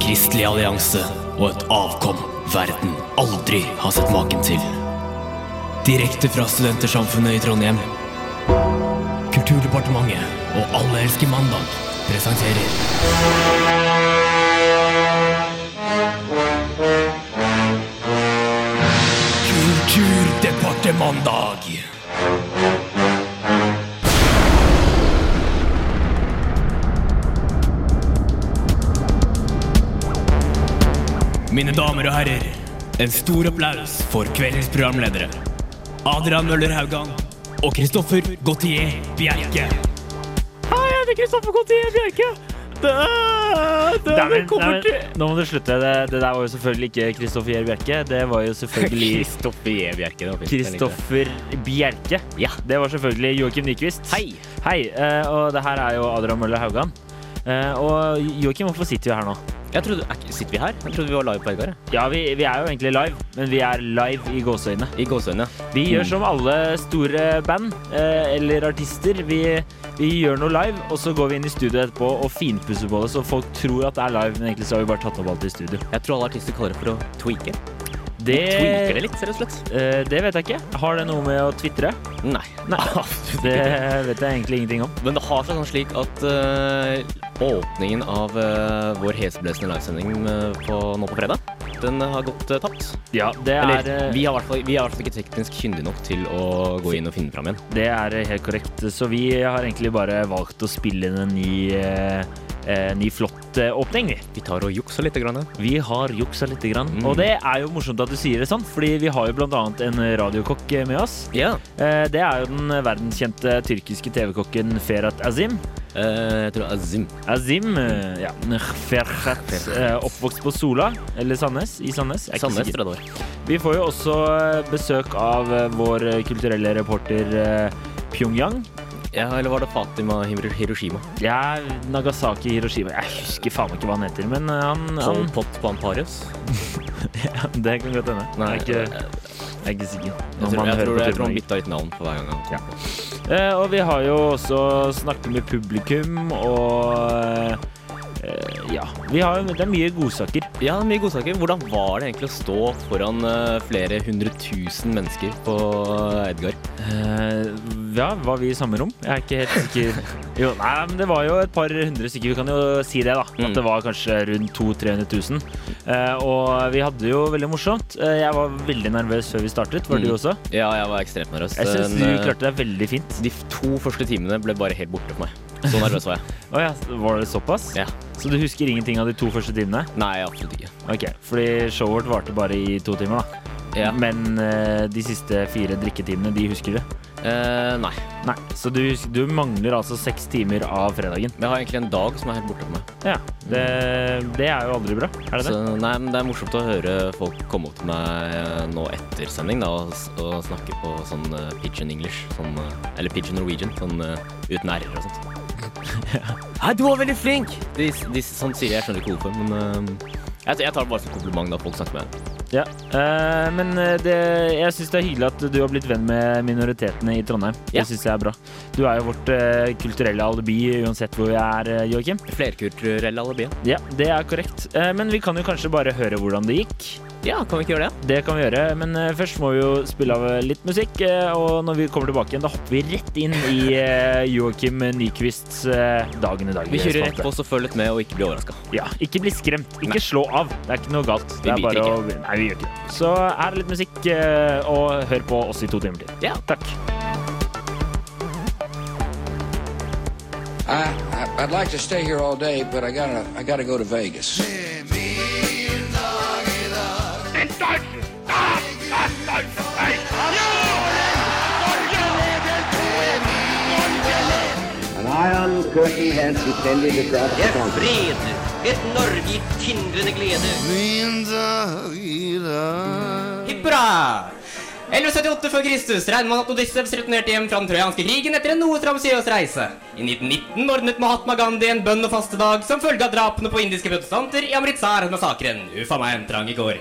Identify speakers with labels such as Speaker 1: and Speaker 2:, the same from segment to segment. Speaker 1: kristelig allianse og et avkom verden aldri har sett maken til. Direkte fra Studentersamfunnet i Trondheim. Kulturdepartementet og Alle elsker mandag presenterer Kulturdepartementet. Mine damer og herrer, en stor applaus for kveldens programledere. Adrian Møller Haugan og Kristoffer Gautier Bjerke. Hei, jeg heter Kristoffer Gautier Bjerke. Det, det,
Speaker 2: Nei, men, nei,
Speaker 1: kommer til
Speaker 2: men, nå må du slutte. Det, det der var jo selvfølgelig ikke Kristoffer Gjær Bjerke. Det var jo selvfølgelig
Speaker 3: Kristoffer J. Bjerke. det var fint.
Speaker 2: Kristoffer Bjerke.
Speaker 3: Ja.
Speaker 2: Det var selvfølgelig Joakim Nyquist.
Speaker 3: Hei.
Speaker 2: Hei, eh, og det her er jo Adrian Møller Haugan. Eh, og Joakim, hvorfor sitter vi her nå?
Speaker 3: Jeg trodde, er ikke- sitter vi her? Jeg trodde vi var live på Edgar. jeg.
Speaker 2: Ja, vi, vi er jo egentlig live, men vi er live i gåseøynene.
Speaker 3: I Mm. gåseøynene.
Speaker 2: Vi gjør som alle store band eh, eller artister. Vi, vi gjør noe live, og så går vi inn i studio etterpå og finpusser på det, så folk tror at det er live, men egentlig så har vi bare tatt opp alt i studio.
Speaker 3: Jeg tror alle artister kaller det for å tweake.
Speaker 2: Det,
Speaker 3: Tweaker det litt, Eh, ser det ut som.
Speaker 2: Eh, det vet jeg ikke. Har det noe med å tvitre?
Speaker 3: Nei.
Speaker 2: Det vet jeg egentlig ingenting om.
Speaker 3: Men det har seg sånn slik at eh, åpningen av eh, vår heseblesende livesending eh, på, nå på fredag, den har gått eh, tapt.
Speaker 2: Ja, det er,
Speaker 3: Eller
Speaker 2: eh,
Speaker 3: vi er i hvert fall vi er i hvert fall ikke teknisk kyndige nok til å gå inn og finne fram igjen.
Speaker 2: det er helt korrekt. Så vi har egentlig bare valgt å spille inn en ny, eh, eh, ny flott eh, åpning, vi.
Speaker 3: Vi tar og jukser litt. Grann, ja.
Speaker 2: Vi har juksa lite grann.
Speaker 3: Mm.
Speaker 2: Og det er jo morsomt at du sier det sånn, fordi vi har jo blant annet en radiokokk med oss.
Speaker 3: ja.
Speaker 2: Eh, Det er jo den verdenskjente tyrkiske TV-kokken Ferhat Azim.
Speaker 3: Eh, jeg tror Azim.
Speaker 2: Azim eh, ja, Ferhat, eh, oppvokst på Sola, eller Sandnes, i Sandnes. Jeg er ikke
Speaker 3: Sandnes
Speaker 2: sikker.
Speaker 3: 30 år.
Speaker 2: Vi får jo også eh, besøk av eh, vår eh, kulturelle reporter eh, Pyongyang.
Speaker 3: Ja, eller var det Fatima Hir- Hiroshima?
Speaker 2: Ja, Nagasaki Hiroshima. Jeg husker faen ikke hva han heter, men eh, han,
Speaker 3: Pol
Speaker 2: han
Speaker 3: Pot Pamparius?
Speaker 2: Det kan godt hende. jeg,
Speaker 3: Nei, eh,
Speaker 2: er ikke, jeg er ikke sikker.
Speaker 3: Jeg
Speaker 2: Når
Speaker 3: tror,
Speaker 2: man
Speaker 3: jeg,
Speaker 2: hører på
Speaker 3: tror, jeg tror han
Speaker 2: Turboneger.
Speaker 3: bytta ut navn for hver gang han kom. på.
Speaker 2: Eh, og vi har jo også snakket med publikum og eh, Ja. Vi har, jo- det er mye godsaker.
Speaker 3: Ja, mye godsaker. Hvordan var det egentlig å stå foran eh, flere hundre tusen mennesker på Edgar?
Speaker 2: Eh, ja, var vi i samme rom? Jeg er ikke helt sikker. Jo, nei, men det var jo et par hundre stykker. Vi kan jo si det, da.
Speaker 3: Mm.
Speaker 2: At det var kanskje rundt 200 000-300 000. Eh, og vi hadde det jo veldig morsomt. Eh, jeg var veldig nervøs før vi startet. Var du
Speaker 3: Mm.
Speaker 2: også?
Speaker 3: Ja, jeg var ekstremt nervøs.
Speaker 2: Jeg syns
Speaker 3: Den,
Speaker 2: du
Speaker 3: eh,
Speaker 2: klarte deg veldig fint.
Speaker 3: De to første timene ble bare helt borte for meg. Så nervøs var jeg.
Speaker 2: Å ja, var det såpass?
Speaker 3: Ja.
Speaker 2: Så du husker ingenting av de to første timene?
Speaker 3: Nei, absolutt ikke.
Speaker 2: Ok, Fordi showet vårt varte bare i to timer, da.
Speaker 3: Ja.
Speaker 2: Men eh, de siste fire drikketimene, de husker det.
Speaker 3: Eh, nei.
Speaker 2: Nei, Så du, husker, du mangler altså seks timer av fredagen.
Speaker 3: Men jeg har egentlig en dag som er helt borte for meg.
Speaker 2: Ja, det, det er jo aldri bra. Er det
Speaker 3: Så,
Speaker 2: det?
Speaker 3: nei, men det er morsomt å høre folk komme opp til meg eh, nå etter sending da, og, s- og snakke på sånn eh, pidgin English. Sånn, eh, eller pidgin Norwegian. Sånn eh, uten r-er og sånt. Hei, du var veldig flink! De, de, sånn sier jeg, jeg skjønner ikke hvorfor, men eh, jeg, jeg tar det bare som kompliment da folk snakker med meg.
Speaker 2: Ja. Eh, men eh, det, jeg syns det er hyggelig at du har blitt venn med minoritetene i Trondheim.
Speaker 3: Ja.
Speaker 2: Det syns jeg er bra. Du er jo vårt eh, kulturelle alibi uansett hvor jeg er, eh, Joakim.
Speaker 3: Flerkulturell alibi. ja.
Speaker 2: Ja, det er korrekt. Eh, men vi kan jo kanskje bare høre hvordan det gikk.
Speaker 3: Ja, kan vi ikke gjøre det?
Speaker 2: Det kan vi gjøre, men eh, først må vi jo spille av eh, litt musikk. eh, og når vi kommer tilbake igjen, da hopper vi rett inn i eh, Joakim Nyquists eh, Dagen i dag.
Speaker 3: Vi kjører
Speaker 2: spalte.
Speaker 3: rett på, så følg litt med og ikke bli overraska.
Speaker 2: Ja, ikke bli skremt. Ikke slå av. Det er ikke noe galt.
Speaker 3: Vi
Speaker 2: det er
Speaker 3: biter
Speaker 2: bare å Nei, vi gjør ikke det. Så er det litt musikk, eh, og hør på oss i to timer til.
Speaker 3: Ja.
Speaker 2: Takk.
Speaker 4: I, I I'd like to stay here all day, but I gotta I gotta go to Vegas.
Speaker 5: An iron curtain had descended across the country.
Speaker 6: fred, et Norge i tindrende glede. Hippra! 1178 før Kristus regner man at Odysseus returnerte hjem fra den trojanske krigen etter en noe tramsiøs reise. I 1919 ordnet Mahatma Gandhi en bønn- og fastedag som følge av drapene på indiske protestanter i Amritsar-massakren. Uffa meg en trang i går.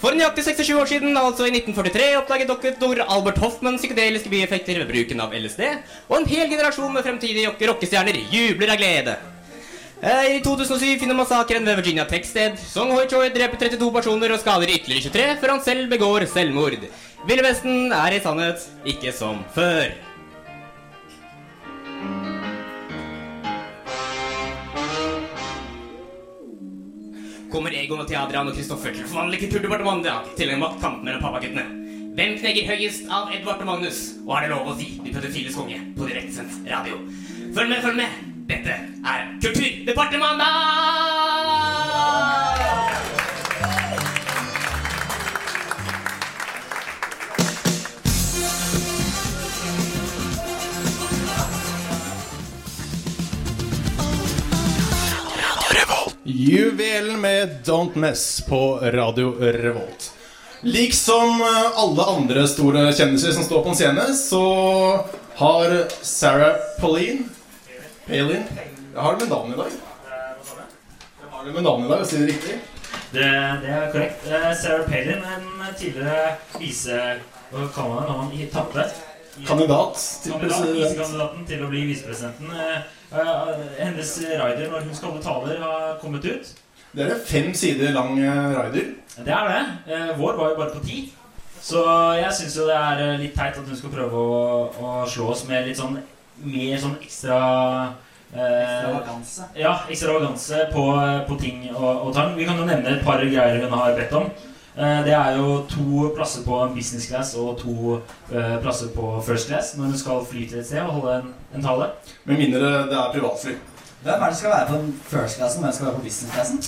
Speaker 6: For nøyaktig 67 år siden, altså i 1943, oppdaget doktor Albert Hoffmann psykedeliske bieffekter ved bruken av LSD, og en hel generasjon med fremtidige rock- rockestjerner jubler av glede. Eh, I 2007 finner massakren ved Virginia Tech sted. Song Hoi-Choi dreper 32 personer og skader ytterligere 23 før han selv begår selvmord. Ville Vesten er i sannhet ikke som før. Kommer Egon og Theadrian og Kristoffer til å forvandle Kulturdepartementet til en maktkamp mellom pappaguttene. Hvem knekker høyest av Edvard og Magnus? Og er det lov å si de pedofiles konge på direktesendt radio? Følg med, følg med. Dette er Kulturdepartementet!
Speaker 7: Juvelen med Don't Mess på Radio Revolt. Liksom eh, alle andre store kjendiser som står på en scene, så har Sarah Pauline Palin Jeg har det med navn i dag. Jeg har det med navn i dag, hvis jeg sier det riktig.
Speaker 2: Det, det er korrekt. Eh, Sarah Palin, en tidligere vise... Hva kaller man det når man tapte?
Speaker 7: Kandidat til
Speaker 2: Kandidat,
Speaker 7: president.
Speaker 2: Visekandidaten til å bli visepresidenten. Eh, eh, Hennes rider når hun skal holde taler, har kommet ut.
Speaker 7: Det er en fem sider lang eh, rider.
Speaker 2: Det er det. Eh, Vår var jo bare på ti. Så jeg syns jo det er eh, litt teit at hun skal prøve å, å slå oss med litt sånn mer sånn ekstra eh, Ja, ekstravaganse på, eh, på ting og, og tang. Vi kan jo nevne et par greier hun har bedt om. Eh, Det er jo to plasser på business class og to eh, plasser på first class når hun skal fly til et sted og holde en, en tale.
Speaker 7: Med mindre det er privatfly.
Speaker 8: Hvem er det som skal være på first-klassen, hvem skal være på business-klassen?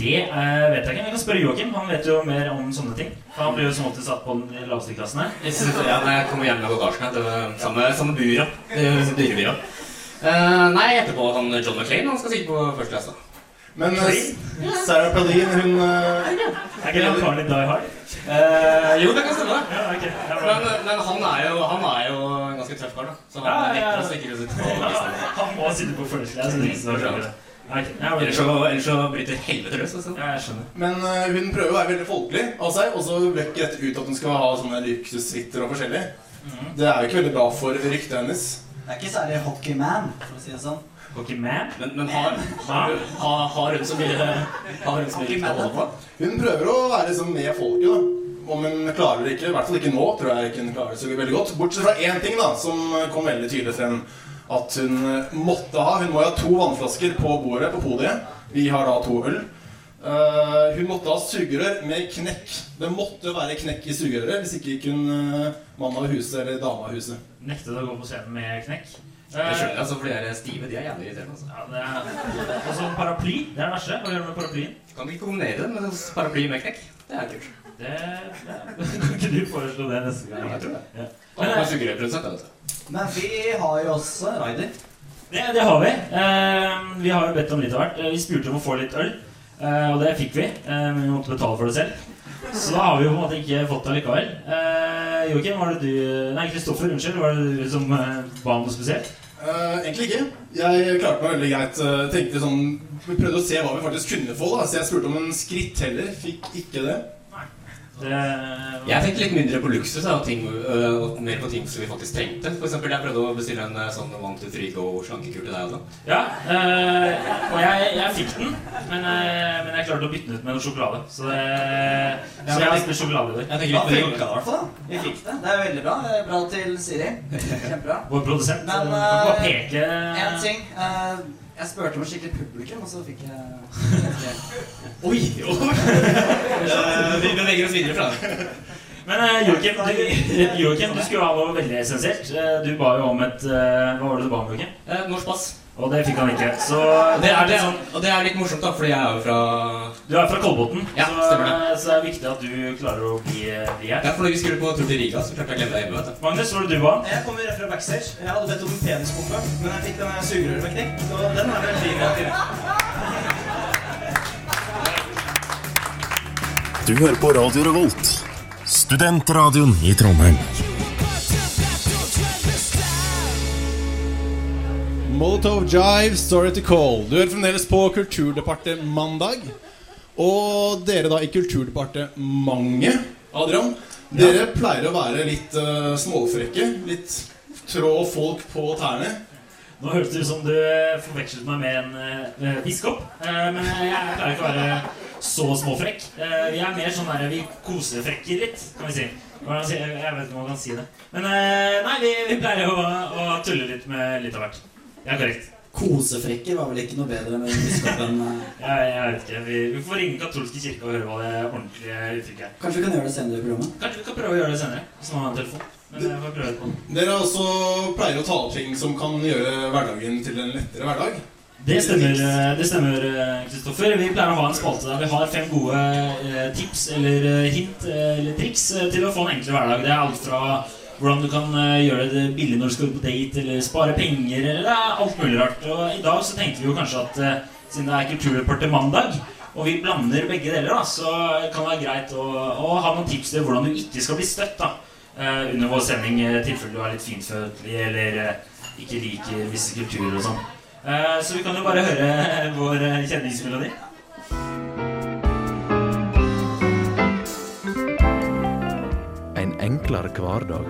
Speaker 2: Det eh, vet jeg ikke. Vi kan spørre Joakim. Han vet jo mer om sånne ting. For han blir jo som alltid satt på den laveste klassen her.
Speaker 6: Jeg synes, ja, når jeg kommer hjem med bagasjen Det var samme, samme bura. Det er jo Dyrebura. Eh, nei, etterpå han John McClain han skal sitte på første klasse.
Speaker 7: Men eh, Sarah Palin, hun eh,
Speaker 2: Er ikke han faren din Die Hard?
Speaker 6: Eh, jo, det kan stemme, det.
Speaker 2: Ja, ok. Ja,
Speaker 6: Men, eh, men han, er jo, han er jo en ganske tøff kar, da. Så han
Speaker 2: Ja, ja, ja.
Speaker 6: nekter oss ikke å sitte på
Speaker 2: bra.
Speaker 6: listen.
Speaker 2: Han må sitte på first class. Det er ikke så rart. Ok, ja, men-
Speaker 6: Ellers så, ellers så bryter helvete løs. Altså.
Speaker 2: Ja, jeg skjønner.
Speaker 7: Men eh, hun prøver å være veldig folkelig av seg, og så blekker dette ut at hun skal ha sånne luksussuiter og forskjellig.
Speaker 2: Mhm.
Speaker 7: Det er jo ikke veldig bra for ryktet hennes.
Speaker 8: Det er ikke særlig hockeyman, for å si det sånn.
Speaker 2: Hockey man?
Speaker 6: Men, men har, har, har, har hun så mye Har hun så mye å holde på?
Speaker 7: Hun prøver å være liksom med folket, da. Om hun klarer det ikke, i hvert fall ikke nå, tror jeg ikke hun klarer det så veldig godt. Bortsett fra én ting, da, som kom veldig tydelig frem. At hun eh, måtte ha Hun må jo ha to vannflasker på bordet på podiet. Vi har da to øl. Eh, hun måtte ha sugerør med knekk. Det måtte jo være knekk i sugerøret, hvis ikke kunne uh, mannen av huset eller dama av huset.
Speaker 2: Nektet å gå på scenen med knekk.
Speaker 6: Jeg
Speaker 2: Eh,
Speaker 6: skjønner det, altså, for de der stive de er jævlig irriterende. Altså.
Speaker 2: Ja, det er Og så paraply. Det er det verste. Hva gjør du med paraplyen?
Speaker 6: Kan vi ikke kombinere det med en paraply med knekk? Det er kult.
Speaker 2: Det, det Kan ikke du foreslå det neste gang?
Speaker 6: Jeg tror det.
Speaker 2: Ja.
Speaker 6: Og han er sugerørprodusent, da, vet du.
Speaker 8: Men vi har jo også rider.
Speaker 2: Det, det har vi. Eh, vi har jo bedt om litt av hvert. Eh, Vi spurte om å få litt øl, eh, og det fikk vi. Eh, men vi måtte betale for det selv. Så da har vi jo på en måte ikke fått det likevel. Eh, Joakim, var det du Nei, Kristoffer, unnskyld. Var det du som eh, ba om noe spesielt?
Speaker 7: Eh, egentlig ikke. Jeg klarte meg veldig greit. eh, tenkte sånn, Vi prøvde å se hva vi faktisk kunne få, da. så jeg spurte om en skritteller. Fikk ikke det.
Speaker 2: Det,
Speaker 6: Jeg tenkte litt mindre på luksus da, og, ting, øh, og mer på ting som vi faktisk trengte. For eksempel, jeg prøvde å bestille en øh, sånn one, two, three, go slankekul til deg også.
Speaker 2: Ja, eh, og jeg, jeg fikk den, men, eh, men jeg klarte å bytte den ut med noe sjokolade. Så, det, så jeg har spist sjokolade i dag.
Speaker 8: Da
Speaker 6: Jeg tenker
Speaker 8: fikk vi
Speaker 6: litt
Speaker 8: det i hvert fall, da. Vi fikk det. Det er veldig bra. Eh, Bra til Siri. Kjempebra.
Speaker 2: Vår produsent.
Speaker 8: Men,
Speaker 2: eh, kan bare
Speaker 8: eh,
Speaker 2: peke
Speaker 8: En ting. eh, Jeg spurte om et skikkelig publikum, og så fikk jeg
Speaker 6: Oi! jo. Eh, vi beveger oss videre fra det.
Speaker 2: Men eh, Joakim, du, Joakim, du skulle ha noe veldig essensielt. Eh, Du ba jo om et eh, Hva var det du ba om, Joakim?
Speaker 6: Eh, norsk pass.
Speaker 2: Og det fikk han ikke. Så
Speaker 6: Og
Speaker 2: det
Speaker 6: det,
Speaker 2: er
Speaker 6: det,
Speaker 2: litt sånn
Speaker 6: og det er litt morsomt, da, fordi jeg er jo fra
Speaker 2: Du er fra Kolbotn,
Speaker 6: Ja,
Speaker 2: så, eh,
Speaker 6: stemmer
Speaker 2: så det er viktig at du klarer å bli, bli her.
Speaker 6: Ja, for når vi skulle på tur til Riga, så klarte jeg å glemme deg hjemme. vet du.
Speaker 2: Magnus, hva var det du ba om?
Speaker 8: Jeg kommer rett fra backstage. Jeg hadde bedt om en penispumpe, men jeg fikk den her sugerøret med knekk. Så den er vel fin.
Speaker 9: Du hører på Radio Revolt, studentradioen i Trondheim.
Speaker 7: Molotov Jive, Story to Call. Du hører fremdeles på Kulturdepartementet mandag. Og dere da i Kulturdepartementet, Adrian, dere pleier å være litt eh, småfrekke. Litt trå folk på tærne.
Speaker 10: Nå hørtes det ut som du forvekslet meg med en eh, eh, biskop. Eh, men jeg klarer ikke å være så småfrekk. Eh, vi er mer sånn der vi kosefrekker litt, kan vi si. Hvordan si- Jeg vet ikke om man kan si det. Men eh, nei, vi, vi pleier å, å tulle litt med litt av hvert. Det er korrekt.
Speaker 11: Kosefrekker var vel ikke noe bedre enn biskopen? eh.
Speaker 10: Jeg, jeg vet ikke. Vi, vi får ringe katolske kirke og høre hva det ordentlige uttrykket er.
Speaker 11: Kanskje vi kan gjøre det senere i programmet?
Speaker 10: Kanskje vi kan prøve å gjøre det senere, hvis man har en telefon. Men jeg får prøve på den.
Speaker 7: Dere også pleier å ta opp ting som kan gjøre hverdagen til en lettere hverdag.
Speaker 10: Det stemmer, eh, det stemmer, eh, Kristoffer. Vi pleier å ha en spalte der vi har fem gode eh, tips eller eh, hint eh, eller triks eh, til å få en enklere hverdag. Det er alt fra hvordan du kan eh, gjøre det billig når du skal ut på date, eller spare penger, eller det er alt mulig rart. Og i dag så tenkte vi jo kanskje at eh, siden det er Kulturdepartementet mandag, og vi blander begge deler, da, så kan det være greit å, å ha noen tips til hvordan du ikke skal bli støtt da, eh, under vår sending, i tilfelle du er litt finfødtlig eller eh, ikke liker visse kulturer og sånn. Eh, Så vi kan jo bare høre vår eh, kjenningsmelodi.
Speaker 12: En enklere hverdag.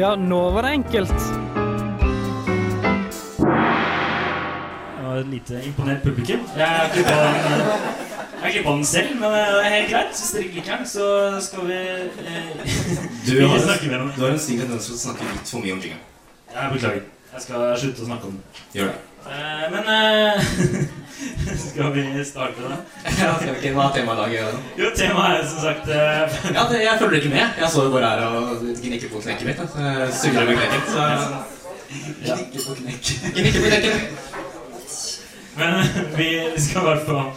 Speaker 13: Ja, nå var det enkelt.
Speaker 10: Det var et lite imponert publikum. Jeg klippa den, jeg klippet den selv, men eh, det er helt greit. Hvis dere ikke liker den, så skal vi eh,
Speaker 11: Du
Speaker 10: ikke
Speaker 11: har,
Speaker 10: snakke mer om
Speaker 11: du har en stigma tendens til å snakke litt for mye om jingeren.
Speaker 10: det. Jeg beklager. Jeg skal slutte å snakke om det.
Speaker 11: Gjør det.
Speaker 10: Eh, Men eh, skal vi starte, da?
Speaker 11: Ja, skal vi ikke hva er temalaget?
Speaker 10: Jo, temaet er som sagt eh,
Speaker 11: Ja, det, jeg følger ikke med. Jeg så jo bare her og gnikker på knekken mitt. da. Så jeg Surrer med knekken. Så
Speaker 10: sånn.
Speaker 11: Gnikker på knekken. Gnikker på knekken.
Speaker 10: Men eh, vi skal i hvert fall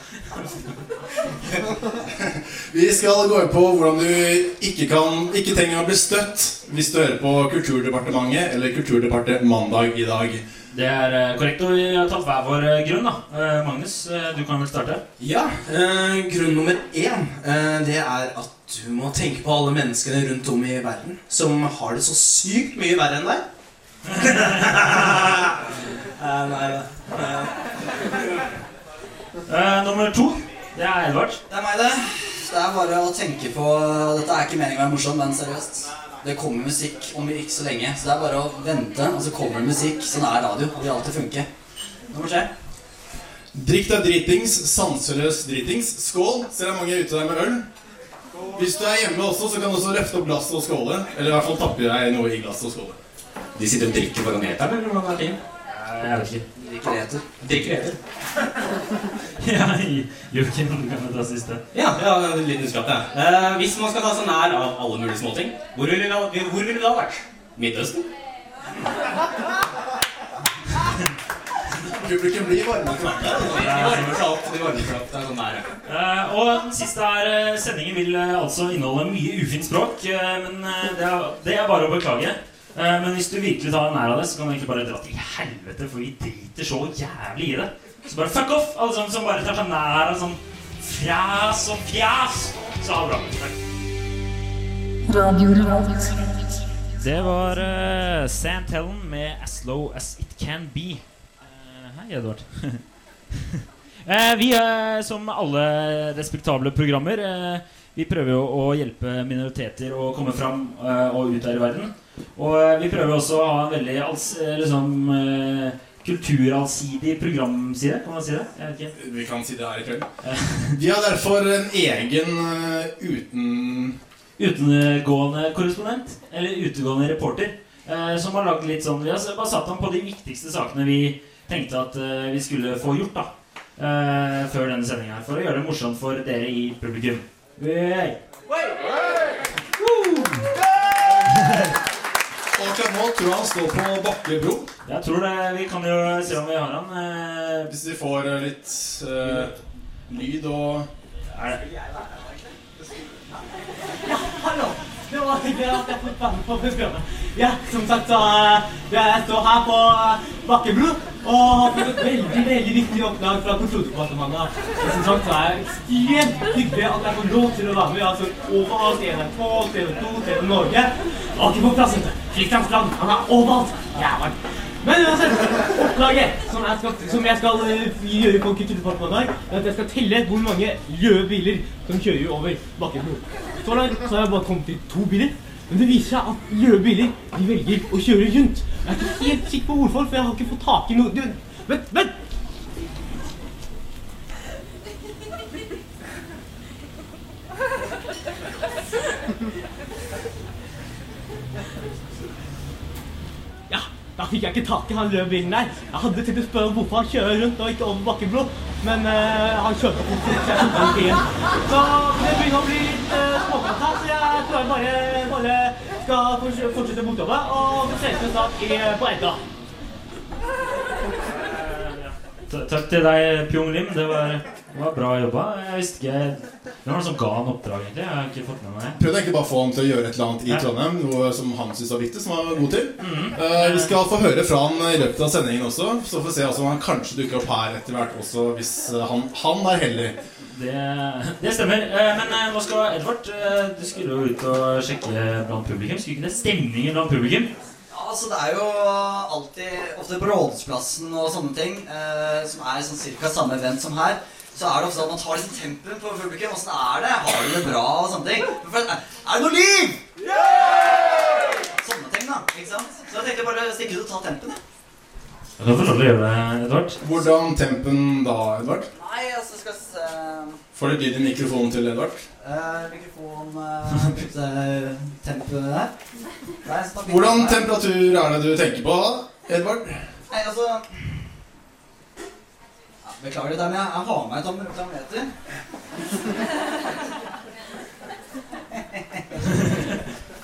Speaker 7: Vi skal gå inn på hvordan du ikke, kan, ikke trenger å bli støtt hvis du hører på Kulturdepartementet eller Kulturdepartementet mandag i dag.
Speaker 10: Det er eh, korrekt. Og vi har tatt hver vår eh, grunn, da. Eh, Magnus, eh, du kan vel starte?
Speaker 11: Ja, eh, grunn nummer én eh, Det er at du må tenke på alle menneskene rundt om i verden Som har det så sykt mye verre enn deg Eh, Nei da
Speaker 10: Eh, Nummer to. Det er Edvard.
Speaker 14: Det er meg, det. Det er bare å tenke på Dette er ikke meningen å være morsom, men seriøst. Det kommer musikk om ikke så lenge, så det er bare å vente, og så kommer det musikk. Sånn er radio. Det vil alltid funke. Nummer tre.
Speaker 7: Drikk deg dritings, sanseløs dritings. Skål! Ser det er mange ute der med øl. Hvis du er hjemme også, så kan du også løfte opp glasset og skåle. Eller i hvert fall tappe deg noe i glasset og skåle.
Speaker 11: De sitter og drikker foran eteren, eller hva er det?
Speaker 10: Jeg vet ikke.
Speaker 11: Drikker eter Drikker eter
Speaker 10: Ja, Joakim, du kan jo ta siste.
Speaker 15: Ja, ja en liten uskatt, ja. Eh, hvis man skal ta seg nær av alle mulige småting, hvor ville det, da- hvor ville det da vært? Midtøsten?
Speaker 7: Publikum blir varme for alt.
Speaker 15: De varmer for alt. De varmer for alt. Det er sånn det er. ja.
Speaker 10: Eh, og den siste er eh, Sendingen vil eh, altså inneholde mye ufint språk, eh, men eh, det, er, det er bare å beklage. Eh, men hvis du virkelig tar deg nær av det, så kan du egentlig bare dra til helvete, for vi driter så jævlig i det. Så bare fuck off, alle sammen som bare tar seg nær av sånn fjas og fjas. Så ha det bra. Takk.
Speaker 16: Radio Revolt.
Speaker 10: Det var uh, Sant Helen med As Low As It Can Be. Eh, hei, Edvard. Eh, vi, eh, som alle respektable programmer, eh, vi prøver jo å hjelpe minoriteter å komme fram eh, og ut her i verden. Og eh, vi prøver også å ha en veldig alls, eh, liksom, eh, kulturallsidig programside, kan man si det? Jeg vet ikke.
Speaker 7: Vi kan si det her i kveld. Vi har derfor en egen eh, uten...
Speaker 10: utegående korrespondent, eller utegående reporter, eh, som har lagd litt sånn Vi har s- bare satt ham på de viktigste sakene vi tenkte at eh, vi skulle få gjort, da. Eh, før denne sendinga her, for å gjøre det morsomt for dere i publikum. Hey.
Speaker 7: Akkurat nå tror jeg han står på Bakkebro.
Speaker 10: Jeg tror det. Vi kan jo se om vi har han. eh.
Speaker 7: Hvis vi får eh, litt eh, lyd og
Speaker 6: Hallo! Det var hyggelig at jeg fikk være med på programmet. Ja, som sagt, så eh, jeg står her på eh, Bakkebro og har fått et veldig veldig viktig oppdrag fra Kulturdepartementet. Og Som sagt, så er det ekstremt hyggelig at jeg får lov til å være med. Altså, overalt i NRK, TV 2, TV Norge. Akerboplassen, Kristian Strand, han er overalt. Jævlig. Men uansett, oppdraget som jeg skal, som jeg skal eh, gjøre på Kulturdepartementet, i dag, er at jeg skal telle hvor mange røde biler som kjører over Bakkebro. Så langt så har jeg bare kommet til to biler. Men det viser seg at løvebiler de velger å kjøre rundt. Jeg er ikke helt sikker på hvorfor, for jeg har ikke fått tak i noe du, Vent, vent! Ja, da fikk jeg ikke tak i han løvebilen der. Jeg hadde tenkt å spørre hvorfor han kjører rundt og ikke over Bakkebro, men eh, han kjørte fort. Så jeg tok ikke igjen. Så det begynner å bli litt uh, småkast her, så jeg tror jeg bare, bare skal forts- fortsette bortover. Og vi ses en dag i, på Edda.
Speaker 2: Ta- Takk til deg, Pyong Lim. Det var, det var bra jobba. Jeg visste ikke Hvem var det som ga han oppdrag, egentlig? Jeg har ikke fått med meg det.
Speaker 7: Prøvde egentlig bare å få han til å gjøre et eller annet i
Speaker 2: Ja.
Speaker 7: Trondheim, noe som han syntes var viktig, som han var god til. Eh, vi skal få høre fra han i løpet av sendingen også, så får vi se altså, om han kanskje dukker opp her etter hvert også, hvis eh, han, han er heldig.
Speaker 2: Det, det stemmer. Eh, Men eh, nå skal Edvard eh, Du skulle jo ut og sjekke blant publikum. Skulle ikke det stemningen blant publikum?
Speaker 10: Ja, altså Det er jo alltid ofte på Rådhusplassen og sånne ting, eh, som er sånn cirka samme event som her, så er det ofte at man tar liksom tempen på publikum. Åssen er det? Har de det bra? og sånne ting. Men for- Er det noe liv? Sånne ting, da. ikke sant? Så jeg tenkte bare å stikke ut og ta tempen. jeg.
Speaker 2: Jeg kan forstå at du gjør det, Edvard.
Speaker 7: Hvordan tempen da, Edvard?
Speaker 10: Nei, altså skal vi se
Speaker 7: Får du lyd i mikrofonen til Edvard?
Speaker 10: eh, Mikrofon eh, bytte tempo der. Nei, så da bytter
Speaker 7: Hvordan
Speaker 10: jeg.
Speaker 7: temperatur er det du tenker på, Edvard?
Speaker 10: Nei, altså ja, Beklager det, men jeg, jeg har med et tam- tameter.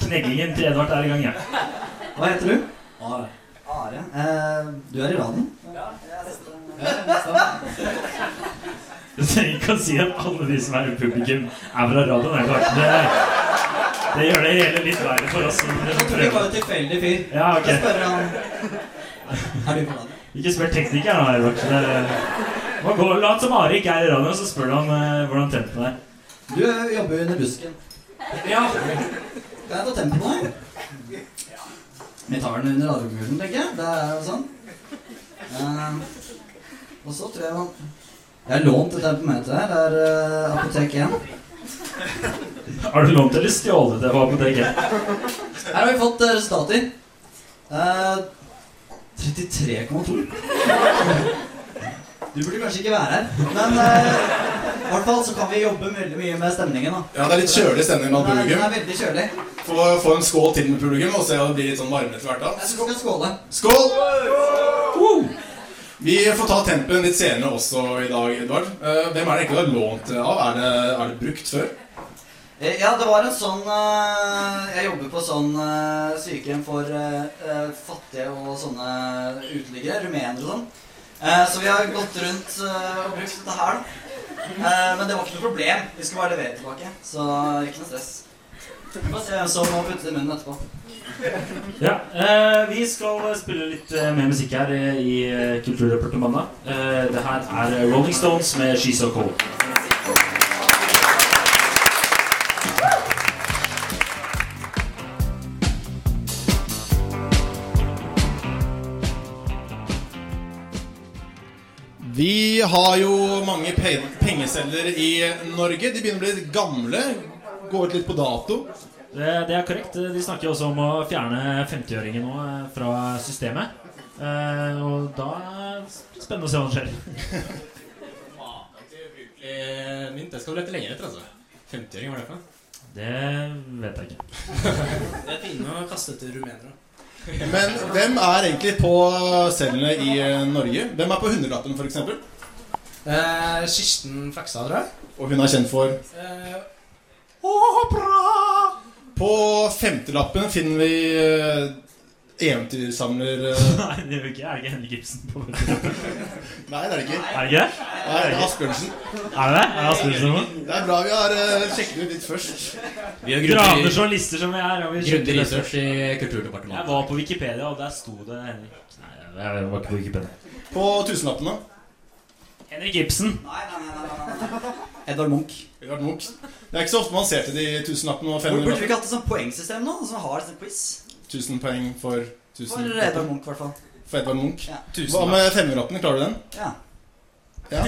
Speaker 2: Kneggingen til Edvard er i gang, ja.
Speaker 10: Hva heter du? Are. Are. Eh, du er i radioen?
Speaker 17: Ja, jeg
Speaker 2: Du trenger ikke å si at alle de som er i publikum, er fra radioen. er klart. Det, det gjør det hele litt verre for oss. som
Speaker 10: Det var jo tilfeldig fyr.
Speaker 2: Ja, ok.
Speaker 10: Jeg spør han Er du på radioen?
Speaker 2: Ikke spør teknikeren, da, Edvard. Det- Må gå- Lat som Are ikke er i radioen, så spør du han eh, hvordan tempen er.
Speaker 10: Du eh, jobber jo under busken. Ja. Kan jeg ta tempen på deg? Vi tar den under radiomuren, tenker jeg. Det er jo sånn. Eh, og så tror jeg man Jeg har lånt et tempometer her. Det er eh, Apotek 1.
Speaker 2: Har du lånt eller stjålet det på apoteket?
Speaker 10: Her har vi fått eh, resultater. Eh, 33,2. Du burde kanskje ikke være her, men eh, i hvert fall så kan vi jobbe veldig mye med stemningen. da.
Speaker 7: Ja, det er litt kjølig stemning blant
Speaker 10: Nei,
Speaker 7: publikum.
Speaker 10: Den er veldig kjølig.
Speaker 7: Få, få en skål til med publikum og se om det blir litt sånn varmere etter hvert. da.
Speaker 10: Jeg skal skåle.
Speaker 7: Skål! Vi får ta tempen litt senere også i dag, Edvard. Eh, hvem er det egentlig du har lånt av? Er det, er det brukt før?
Speaker 10: Eh, Ja, det var en sånn eh, Jeg jobber på sånn eh, sykehjem for eh, eh, fattige og sånne uteliggere, rumenere og sånn. Eh, så vi har gått rundt eh, og brukt dette her, da. Eh, men det var ikke noe problem. Vi skulle bare levere tilbake, så eh, ikke noe stress. Vi får se hvem som må putte det i munnen etterpå.
Speaker 2: Ja, eh, Vi skal spille litt eh, mer musikk her eh, i eh, Kulturdepartementet. Eh, det her er Rolling Stones med 'She's So Cold'.
Speaker 7: Vi har jo mange pe pengeselgere i Norge. De begynner å bli gamle. Går ut litt på dato.
Speaker 2: Det, det er korrekt. De snakker jo også om å fjerne 50-øringer nå eh, fra systemet. Eh, og da er det spennende å se hva som skjer.
Speaker 3: Eh, Mynt, jeg skal lete lenger etter, altså. 50-åring, hva er det for noe?
Speaker 2: Det vet jeg ikke.
Speaker 18: Det er pinne å kaste til rumenere.
Speaker 7: Men hvem er egentlig på selgerne i eh, Norge? Hvem er på hundrelappen, f.eks.?
Speaker 18: Eh, Kirsten Fleksa, tror jeg.
Speaker 7: Og hun er kjent for
Speaker 18: Eh,
Speaker 7: På femtelappen finner vi eh, eventyrsamler eh,
Speaker 2: Nei, det gjør vi ikke. Er det ikke Henrik Ibsen på Nei,
Speaker 7: Nei, det er det ikke.
Speaker 2: Er det ikke?
Speaker 7: Nei, det er Asbjørnsen.
Speaker 2: Er det det? Er det Asbjørnsen nå?
Speaker 7: Det er bra vi har eh, sjekket ut litt først.
Speaker 2: Graver journalister som vi er. og vi
Speaker 3: Grundig
Speaker 2: sjekker dette.
Speaker 3: research i Kulturdepartementet.
Speaker 2: Jeg var på Wikipedia, og der sto det Henrik Nei, jeg var ikke på Wikipedia.
Speaker 7: På tusenlappen, da?
Speaker 2: Henrik Ibsen.
Speaker 10: Edvard Munch.
Speaker 7: Edvard Munch. Det er ikke så ofte man ser til de tusenlappene og
Speaker 10: Burde vi ikke
Speaker 7: femhundrelappene.
Speaker 10: hatt et sånt poengsystem nå? Som har sånn quiz?
Speaker 7: Tusen poeng for tusen
Speaker 10: For Edvard Munch, i hvert fall.
Speaker 7: For Edvard Munch.
Speaker 10: Ja.
Speaker 7: Hva med femhundrelappene? Klarer du den?
Speaker 10: Ja.
Speaker 7: Ja.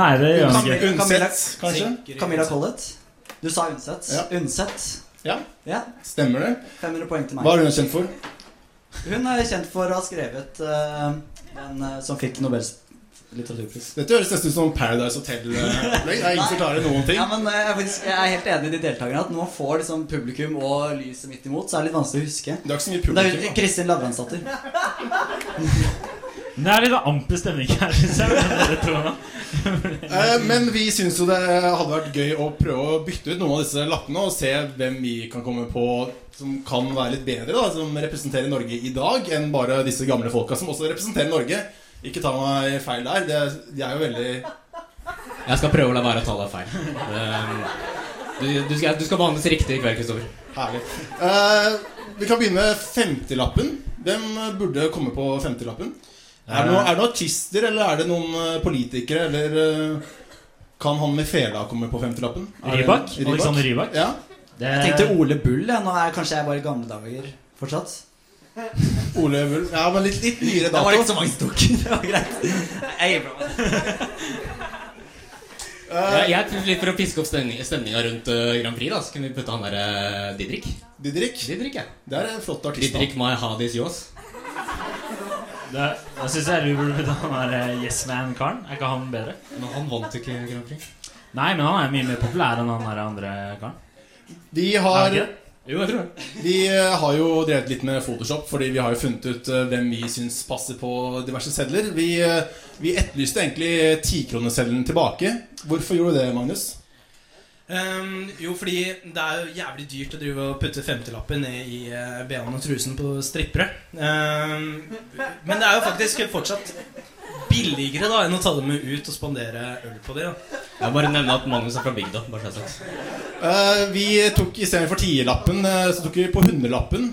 Speaker 2: Nei, det gjør han ikke.
Speaker 7: Unsett, kanskje?
Speaker 10: Camilla Collett. Du sa Undset. Undset.
Speaker 7: Ja.
Speaker 10: ja.
Speaker 7: Stemmer det.
Speaker 10: 500 poeng til meg.
Speaker 7: Hva er hun kjent for?
Speaker 10: Hun er kjent for å ha skrevet eh, en eh, som fikk Nobels litteraturpris.
Speaker 7: Dette høres nesten ut som Paradise Hotel-opplegg. Det er ingen som klarer noen ting.
Speaker 10: Ja, men eh, jeg er, faktisk, jeg er helt enig med de deltakerne at når man får liksom publikum og lyset midt imot, så er det litt vanskelig å huske.
Speaker 7: Det er ikke så mye
Speaker 2: publikum,
Speaker 10: Det
Speaker 2: da.
Speaker 10: er Kristin Lavransdatter.
Speaker 2: Det er litt amper stemning her, syns jeg. med dere to nå.
Speaker 7: Eh, Men vi syns jo det hadde vært gøy å prøve å bytte ut noen av disse lappene og se hvem vi kan komme på som kan være litt bedre, da, som representerer Norge i dag, enn bare disse gamle folka som også representerer Norge. Ikke ta meg feil der. Det, de er jo veldig
Speaker 19: Jeg skal prøve å la være å ta deg feil. Eh, Du, du, skal, du skal behandles riktig i kveld, Kristoffer.
Speaker 7: Herlig. Eh, vi kan begynne med 50-lappen. Hvem burde komme på 50-lappen?
Speaker 19: Eh.
Speaker 7: Er, det noen- er det noen artister, eller er det noen eh, politikere, eller eh, kan han med fela komme på 50-lappen? Er det-
Speaker 2: Rybak? Alexander Rybak?
Speaker 7: Ja.
Speaker 10: Jeg tenkte Ole Bull. jeg. Nå er kanskje jeg bare i gamle dager fortsatt.
Speaker 7: Ole Bull Ja, men litt, litt nyere
Speaker 10: Det
Speaker 7: dato.
Speaker 10: var det ikke så mange som tok. Det var greit. Jeg gir fra meg.
Speaker 19: Jeg, jeg tror litt For å piske opp stemninga rundt eh, Grand Prix, da, så kunne vi putte han der eh, Didrik.
Speaker 7: Didrik?
Speaker 19: Didrik, ja.
Speaker 7: Det er en flott artist.
Speaker 19: Didrik my hadis yours.
Speaker 2: Det, jeg syns jeg lurer på han der eh, Yes Man-karen. Er ikke han bedre?
Speaker 19: Men han vant ikke Grand Prix.
Speaker 2: Nei, men han er mye mer populær enn han der andre karen.
Speaker 7: De har
Speaker 2: Er det ikke det? Jo, jeg tror det.
Speaker 7: Vi eh, har jo drevet litt med Photoshop, fordi vi har jo funnet ut eh, hvem vi syns passer på diverse sedler. Vi, eh, vi etterlyste egentlig tikroneseddelen tilbake. Hvorfor gjorde du det, Magnus?
Speaker 6: Ehm, jo, fordi det er jo jævlig dyrt å drive og putte 50-lappen ned i uh, BH-en og trusen på strippere. Ehm, men det er jo faktisk fortsatt billigere da enn å ta dem med ut og spandere øl på dem.
Speaker 19: Jeg bare nevner at Magnus er fra bygda. bare så det er sagt.
Speaker 7: Eh, vi tok istedenfor tierlappen, eh, så tok vi på hundrelappen.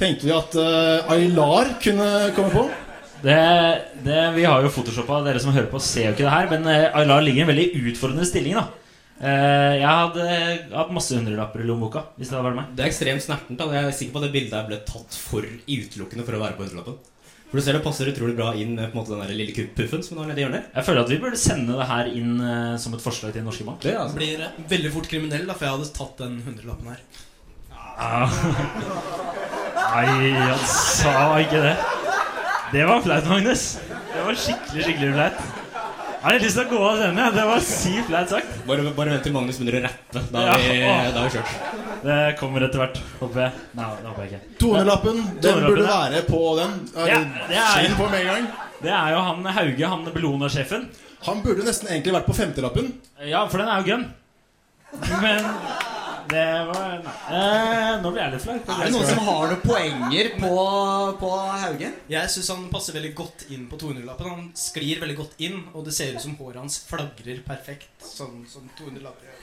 Speaker 7: Tenkte vi at eh, Aylar kunne komme på.
Speaker 2: Det, det, vi har jo photoshoppa. Dere som hører på, ser jo ikke det her. Men eh, Aylar ligger i en veldig utfordrende stilling. da Eh, Jeg hadde hatt masse hundrelapper i lommeboka. Hvis det hadde vært meg
Speaker 19: Det er ekstremt snertent. da Jeg er sikker på at det bildet her ble tatt for utelukkende for å være på hundrelappen. For du ser det passer utrolig bra inn med på en måte den der lille kupp-puffen som du har nede i hjørnet.
Speaker 2: Jeg føler at vi burde sende det her inn eh, som et forslag til Norske Bank.
Speaker 6: Det
Speaker 7: altså-
Speaker 6: blir eh, veldig fort kriminell, da, for jeg hadde tatt den hundrelappen her.
Speaker 2: Ah. Nei, han sa ikke det. Det var flaut, Magnus. Det var skikkelig, skikkelig flaut. Jeg har litt lyst til å gå av scenen. jeg. Det var sykt flaut sagt.
Speaker 19: Bare, bare vent til Magnus begynner å rappe. Da er vi,
Speaker 2: Ja.
Speaker 19: da er vi kjørt.
Speaker 2: Det kommer etter hvert, håper jeg. Nei, det håper jeg ikke.
Speaker 7: 200-lappen, den burde
Speaker 2: ja.
Speaker 7: være på den. Er
Speaker 2: Ja,
Speaker 7: det-
Speaker 2: det er-
Speaker 7: Skinn på med en gang.
Speaker 2: Det er jo han Hauge, han Bellona-sjefen.
Speaker 7: Han burde nesten egentlig vært på femtelappen.
Speaker 2: Ja, for den er jo grønn. Men det var Nei. Eh, nå blir jeg litt flau.
Speaker 10: Er det noen som har noen poenger på, på Haugen?
Speaker 6: Jeg syns han passer veldig godt inn på 200-lappen. Han sklir veldig godt inn, og det ser ut som håret hans flagrer perfekt. Sånn som 200-lapper gjør.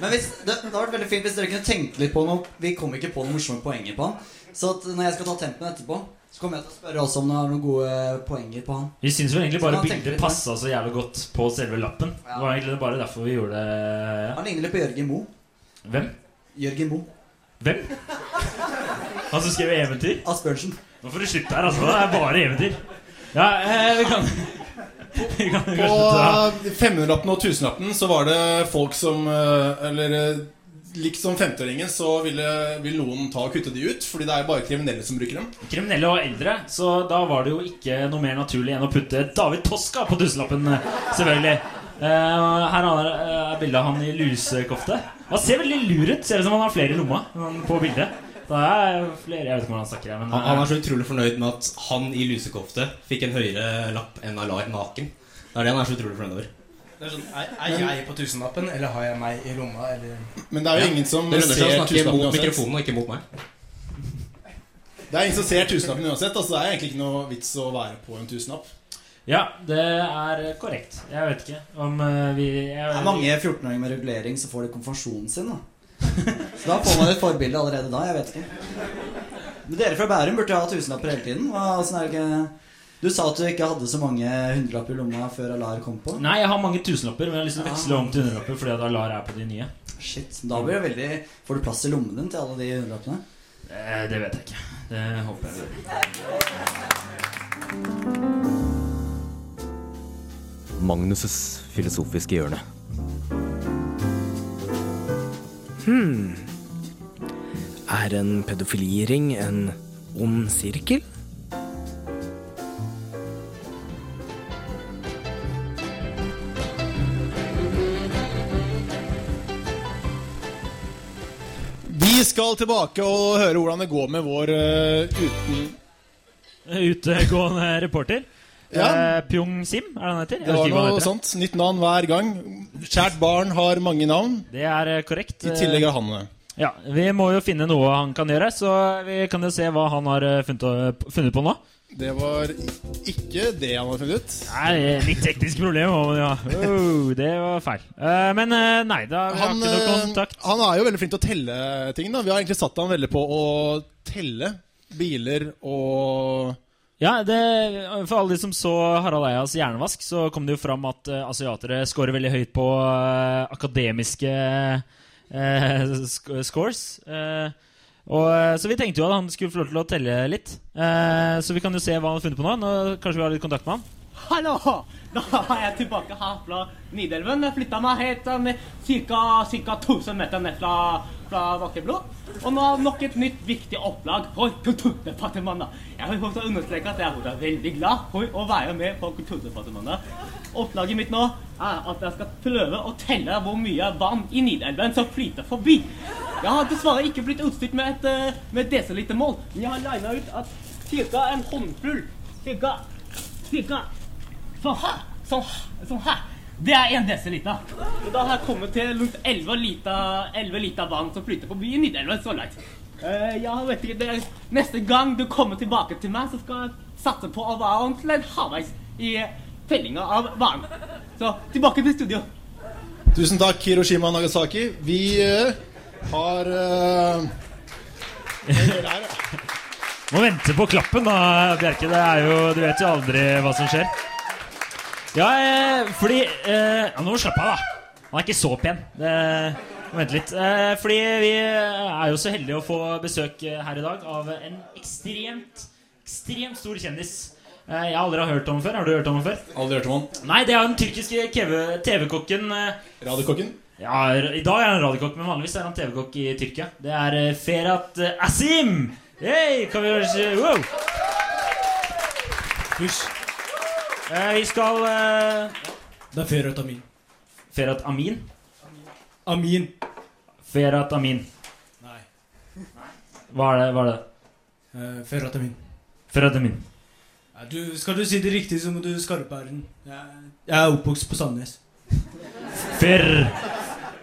Speaker 10: Men hvis, det, det hadde vært veldig fint hvis dere kunne tenke litt på noe Vi kom ikke på noen morsomme poenger på han. Så at når jeg skal ta tempen etterpå, så kommer jeg til å spørre også om det er noen gode poenger på han.
Speaker 2: Vi syns vel egentlig
Speaker 10: Så
Speaker 2: bare
Speaker 10: kan han tenke
Speaker 2: bildet
Speaker 10: litt mer.
Speaker 2: passa så jævlig godt på selve lappen. Det var egentlig bare derfor vi gjorde det.
Speaker 10: Han ligner litt på Jørgen Moe.
Speaker 2: Hvem?
Speaker 10: Jørgen Moe.
Speaker 2: Hvem? Han som skrev eventyr?
Speaker 10: Asbjørnsen.
Speaker 2: Nå får du slippe her, altså. Det er bare eventyr. Ja, eh, vi kan Vi kan kanskje ta
Speaker 7: På 500-lappen og 1000-lappen så var det folk som eh, Eller eh, liksom 50-åringen så ville, ville noen ta og kutte de ut, fordi det er bare kriminelle som bruker dem.
Speaker 2: Kriminelle og eldre, så da var det jo ikke noe mer naturlig enn å putte David Toska på tusenlappen, eh, selvfølgelig. Eh, her er, er bildet av han i lusekofte. Han ser veldig lur ut. Ser ut som han har flere i lomma enn han på bildet. Det er flere, Jeg vet ikke hvordan han snakker, jeg, men eh,
Speaker 19: Han, han er så utrolig fornøyd med at han i lusekofte fikk en høyere lapp enn Alar naken. Det er det han er så utrolig fornøyd over.
Speaker 6: Det er sånn, er, er jeg på tusenlappen, eller har jeg meg i lomma, eller
Speaker 7: Men det er jo
Speaker 19: Ja.
Speaker 7: ingen som
Speaker 19: Det lønner seg å snakke
Speaker 7: tusenlappen
Speaker 19: mot
Speaker 7: uansett.
Speaker 19: mikrofonen og ikke mot meg.
Speaker 7: Det er ingen som ser tusenlappen uansett. Altså Det er egentlig ikke noe vits å være på en tusenlapp.
Speaker 2: Ja, det er korrekt. Jeg vet ikke om eh, vi jeg,
Speaker 10: Det er mange 14-åringer med regulering som får det konfirmasjonen sin, da. Så da får man et forbilde allerede da. Jeg vet ikke. Men dere fra Bærum burde jo ha tusenlapper hele tiden. Hva, åssen er det ikke Du sa at du ikke hadde så mange hundrelapper i lomma før Alar kom på.
Speaker 2: Nei, jeg har mange tusenlapper, men jeg har lyst til å
Speaker 10: Ah.
Speaker 2: veksle om til hundrelapper fordi at Alar er på de nye.
Speaker 10: Shit, Da blir det veldig Får du plass i lommen din til alle de hundrelappene?
Speaker 2: Eh, det vet jeg ikke. Det håper jeg blir.
Speaker 3: Magnus' filosofiske hjørne.
Speaker 1: Hmm. Er en pedofiliring en ond sirkel?
Speaker 7: Vi skal tilbake og høre hvordan det går med vår eh, uten
Speaker 2: Utegående reporter.
Speaker 7: Ja.
Speaker 2: Eh, Pyong Sim, er det han heter? Jeg
Speaker 7: Det
Speaker 2: husker
Speaker 7: var
Speaker 2: ikke hva han
Speaker 7: noe sånn
Speaker 2: heter.
Speaker 7: sånt. Nytt navn hver gang. Kjært barn har mange navn.
Speaker 2: Det er eh, korrekt.
Speaker 7: I tillegg har han det.
Speaker 2: Ja, Vi må jo finne noe han kan gjøre, så vi kan jo se hva han har eh, funnet, funnet på nå.
Speaker 7: Det var i- ikke det han hadde funnet ut.
Speaker 2: Nei, Litt teknisk problem, må man jo ha. Oh, det var feil. Eh, men eh, nei, da vi har
Speaker 7: Han,
Speaker 2: ikke noe
Speaker 7: eh, han er jo veldig flink til å telle ting. da Vi har egentlig satt han veldig på å telle biler og
Speaker 2: Ja, det, For alle de som så Harald Eias hjernevask, så kom det jo fram at eh, asiatere scorer veldig høyt på eh, akademiske eh, sk scores. Eh, og, eh, så vi tenkte jo at han skulle få lov til å telle litt. Eh, så vi kan jo se hva han har funnet på nå. nå. Kanskje vi har litt kontakt med han?
Speaker 6: Hallo! Da er jeg tilbake her fra Nidelven. Jeg flytta meg helt eh, med cirka, cirka 1000 meter ned fra, fra Bakkeblå. Og nå er nok et nytt viktig opplag for Kulturdepartementet. Jeg vil også understreke at jeg er veldig glad for å være med på Kulturdepartementet. Opplaget mitt nå er at jeg skal prøve å telle hvor mye vann i Nidelven som flyter forbi. Jeg har dessverre ikke blitt utstyrt med et eh, med desilitermål, men jeg har lina ut at cirka en håndfull cirka, cirka Sånn her. Sånn, her, sånn her. Det er en desiliter. Og da har jeg kommet til rundt 11 liter, 11 liter vann som flyter forbi i Nidelven så langt. Eh, jeg vet ikke, det er, Neste gang du kommer tilbake til meg, så skal jeg satse på å være ordentlig halvveis i tellinga av vann. Så tilbake til studio.
Speaker 7: Tusen takk, Hiroshima Nagasaki. Vi eh, har eh,
Speaker 2: Må vente på klappen da, Bjerke. Det er jo, du vet jo aldri hva som skjer. Ja, eh, fordi eh, ja, Nå må du slappe av, da. Han er ikke så pen. Det, må vente litt. Eh, fordi vi er jo så heldige å få besøk eh, her i dag av en ekstremt, ekstremt stor kjendis. Eh, jeg aldri har hørt om ham før. Har du hørt om ham før?
Speaker 7: Aldri hørt om han.
Speaker 2: Nei, det er jo den tyrkiske keve- TV-kokken eh,
Speaker 7: Radiokokken?
Speaker 2: Ja, r- i dag er han radiokokk, men vanligvis er han TV-kokk i Tyrkia. Det er eh, Ferhat eh, Asim! Hey, kan vi høre Wow! Hysj. Eh, vi skal eh,
Speaker 10: Det er Ferhat Amin.
Speaker 2: Ferhat Amin?
Speaker 10: Amin.
Speaker 2: Ferhat Amin.
Speaker 10: Nei.
Speaker 2: Hva er det? Hva er det?
Speaker 10: Eh, Ferhat Amin.
Speaker 2: Ferhat Amin.
Speaker 10: Ja, du, skal du si det riktig, så må du skarpe r Jeg, jeg er oppvokst på Sandnes.
Speaker 2: Fer...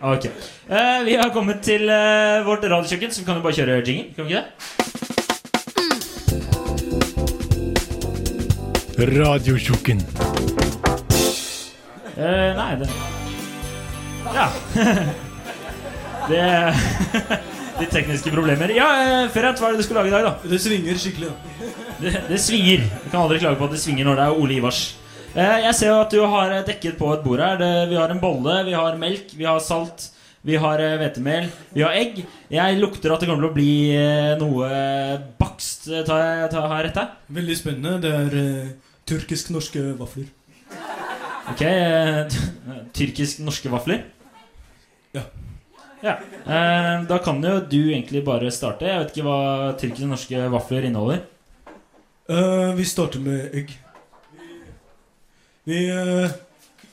Speaker 2: Ok. Eh, vi har kommet til eh, vårt radiokjøkken, så vi kan jo bare kjøre jingle. Kan vi ikke det?
Speaker 20: Radiotjukken.
Speaker 2: Eh, nei, det Ja. det Litt tekniske problemer. Ja, eh, Ferhat, hva er det du skulle lage i dag, da?
Speaker 10: Det svinger skikkelig,
Speaker 2: Det, det svinger. Jeg kan aldri klage på at det svinger når det er Ole Ivars. Eh, jeg ser jo at du har eh, dekket på et bord her. Det, vi har en bolle, vi har melk, vi har salt. Vi har eh, hvetemel, vi har egg. Jeg lukter at det kommer til å bli eh, noe bakst. Eh, Tar jeg, tar, har jeg rett her?
Speaker 10: Veldig spennende. Det er eh, turkisk-norske vafler.
Speaker 2: Ok. eh, Tyrkisk-norske vafler. Ja. Eh, da kan jo du egentlig bare starte. Jeg vet ikke hva tyrkisk-norske vafler inneholder.
Speaker 10: Eh, vi starter med egg. Vi eh,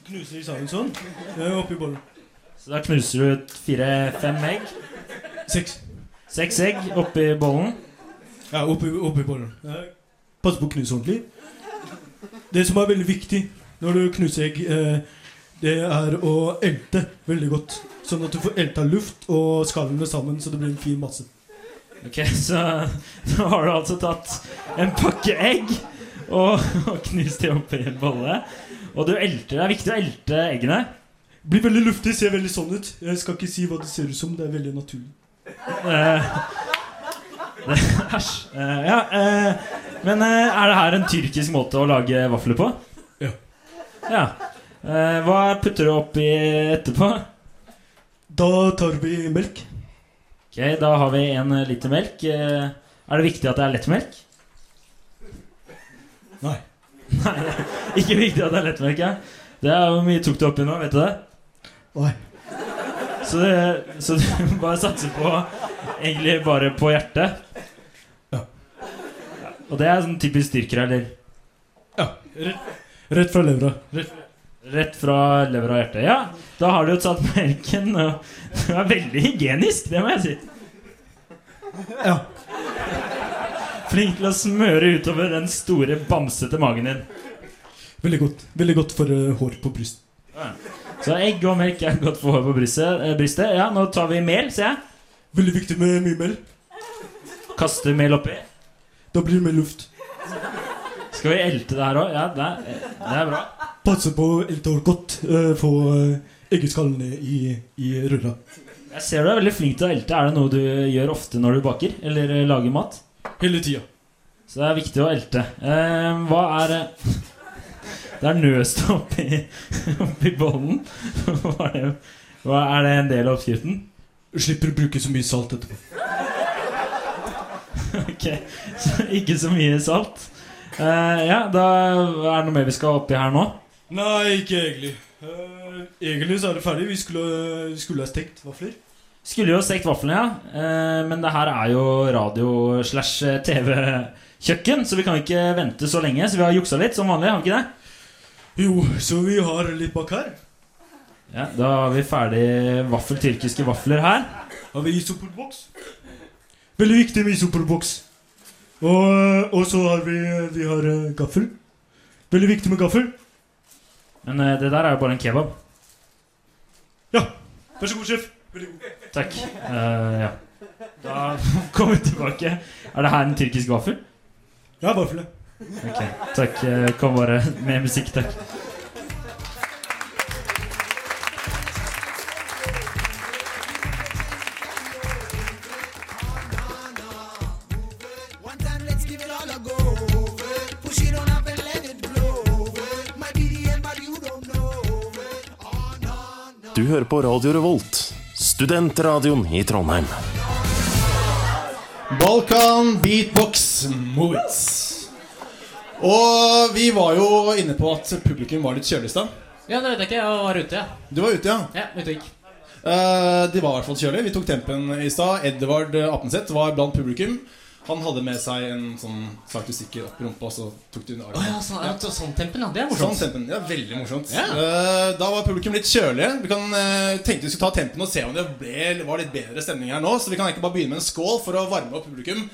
Speaker 10: knuser sammen sånn. Det er oppi bollen.
Speaker 2: Så da knuser du ut fire-fem egg.
Speaker 10: Seks.
Speaker 2: Seks egg oppi bollen.
Speaker 10: Ja, oppi, oppi bollen. Ja. Pass på å knuse ordentlig. Det som er veldig viktig når du knuser egg, eh, det er å elte veldig godt. Sånn at du får elta luft og skallene sammen, så det blir en fin masse.
Speaker 2: Ok, så nå har du altså tatt en pakke egg og, og knust det oppi en bolle. Og du elter. Det er viktig å elte eggene.
Speaker 10: Blir veldig luftig, ser veldig sånn ut. Jeg skal ikke si hva det ser ut som, det er veldig naturlig.
Speaker 2: Eh, det- Æsj. Eh, ja, eh, men eh, er det her en tyrkisk måte å lage vafler på?
Speaker 10: Ja.
Speaker 2: ja. Eh, hva putter du oppi etterpå?
Speaker 10: Da tar vi melk.
Speaker 2: Ok, Da har vi en eh, liter melk. Eh, er det viktig at det er lettmelk?
Speaker 10: Nei.
Speaker 2: Nei, det er Ikke viktig at det er lettmelk, ja. Det er Hvor mye tok du oppi nå, vet du det?
Speaker 10: Nei.
Speaker 2: Så, det- så du bare satser på Egentlig bare på hjertet. Ja. Og det er sånn typisk styrker, eller?
Speaker 21: Rett fra levra.
Speaker 2: Rett, rett fra lever og hjerte. Ja, da har du jo tatt melken. Og du er veldig hygienisk, det må jeg si. Ja. Flink til å smøre utover den store, bamsete magen din.
Speaker 21: Veldig godt. Veldig godt for eh, hår på bryst.
Speaker 2: Så egg og melk er godt for hår på brystet. eh, brystet. Ja, nå tar vi mel, ser jeg.
Speaker 21: Veldig viktig med mye mel.
Speaker 2: Kaster mel oppi.
Speaker 21: Da blir det mer luft.
Speaker 2: Skal vi elte det her òg? Ja, det er, det er bra.
Speaker 21: Passe på å elte hår godt. eh, Få eh, eggeskallene i, i rulla.
Speaker 2: Jeg ser du er veldig flink til å elte. Er det noe du gjør ofte når du baker? Eller eh, lager mat? Hele tida. Så det er viktig å elte. Eh, hva er eh, Det er nøst oppi, oppi bollen. Hva er, det, hva er det en del av oppskriften?
Speaker 21: Slipper å bruke så mye salt etterpå.
Speaker 2: Ok, så Ikke så mye salt. Eh, ja, da er det noe mer vi skal oppi her nå?
Speaker 21: Nei, ikke egentlig. Eh, egentlig så er det ferdig. Vi skulle, vi skulle ha stekt vafler.
Speaker 2: Skulle jo stekt vaflene, ja. Eh, Men det her er jo radio slash eh, TV-kjøkken, så vi kan ikke vente så lenge. Så vi har juksa litt som vanlig, har vi ikke det?
Speaker 21: Jo, så vi har litt bak her.
Speaker 2: Ja, Da har vi ferdig vaffel, tyrkiske vafler her.
Speaker 21: Har vi isopolboks? Veldig viktig med isopolboks. Og, eh, og så har vi, vi har eh, gaffel. Veldig viktig med gaffel.
Speaker 2: Men eh, det der er jo bare en kebab.
Speaker 21: Vær så god, sjef. Veldig god.
Speaker 2: Takk. Eh, ja. Da kommer vi tilbake. Er det her en tyrkisk vaffel?
Speaker 21: Ja, vafler.
Speaker 2: Ok, Takk. eh, Kom bare med musikk, takk.
Speaker 22: One time, let's give it all a go. Push it on up and let it blow. Might be the end, but you don't know.
Speaker 9: Du hører på Radio Revolt, studentradioen i Trondheim.
Speaker 7: Balkan Beatbox Movies. Og vi var jo inne på at publikum var litt kjølig i stad.
Speaker 23: Ja, det vet jeg ikke. Jeg var ute, ja.
Speaker 7: Du var ute, ja?
Speaker 23: Ja, ute og gikk.
Speaker 7: Eh, de var i hvert fall kjølige. Vi tok tempen i stad. Edvard eh, Apenseth var blant publikum. Han hadde med seg en sånn sakte stikker opp i rumpa, og så tok de under armen.
Speaker 23: Å ja, sånn, ja, sånn tempen, ja. Det er
Speaker 7: Sånn
Speaker 23: morsomt.
Speaker 7: tempen, ja, Veldig morsomt.
Speaker 23: Ja.
Speaker 7: Eh, da var publikum litt kjølige. Vi kan eh, tenkte vi skulle ta tempen og se om det ble, var litt bedre stemning her nå. Så vi kan egentlig bare begynne med en skål for å varme opp publikum.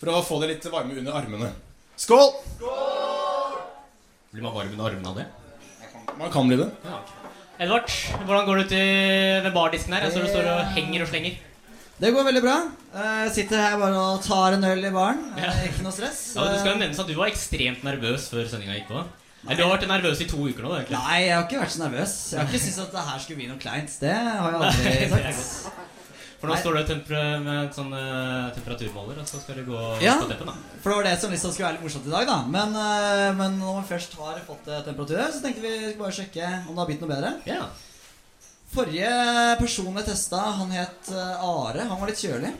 Speaker 7: For å få det litt varme under armene. Skål!
Speaker 23: Blir man varm under armene av det?
Speaker 7: Man kan bli det.
Speaker 6: Edvard, hvordan går det ut i, ved bardisken her? Jeg ser du står
Speaker 23: Eh,
Speaker 6: og henger og slenger.
Speaker 10: Det går veldig bra. Eh, Jeg sitter her bare og tar en øl i baren. Eh, Ikke noe stress.
Speaker 6: Ja, men det skal jo nevnes at du var ekstremt nervøs før sendinga gikk på. Nei, du har vært nervøs i to uker nå, egentlig.
Speaker 10: Eh, Nei, jeg har ikke vært så nervøs. Jeg har ikke syntes at det her skulle bli noe kleint. Det har jeg
Speaker 6: Nei, det er
Speaker 10: aldri
Speaker 6: godt.
Speaker 10: sagt.
Speaker 6: For nå
Speaker 10: Nei.
Speaker 6: står du og temper- med en sånn eh, temperaturmåler, og så skal du gå
Speaker 10: Ja,
Speaker 6: på teppen, da.
Speaker 10: for det var det som liksom skulle være litt morsomt i dag, da. Men, eh, men når man først har fått eh, temperatur, så tenkte vi skulle bare sjekke om det har blitt noe bedre. Forrige person jeg testa, han het eh, Are. Han var litt kjølig.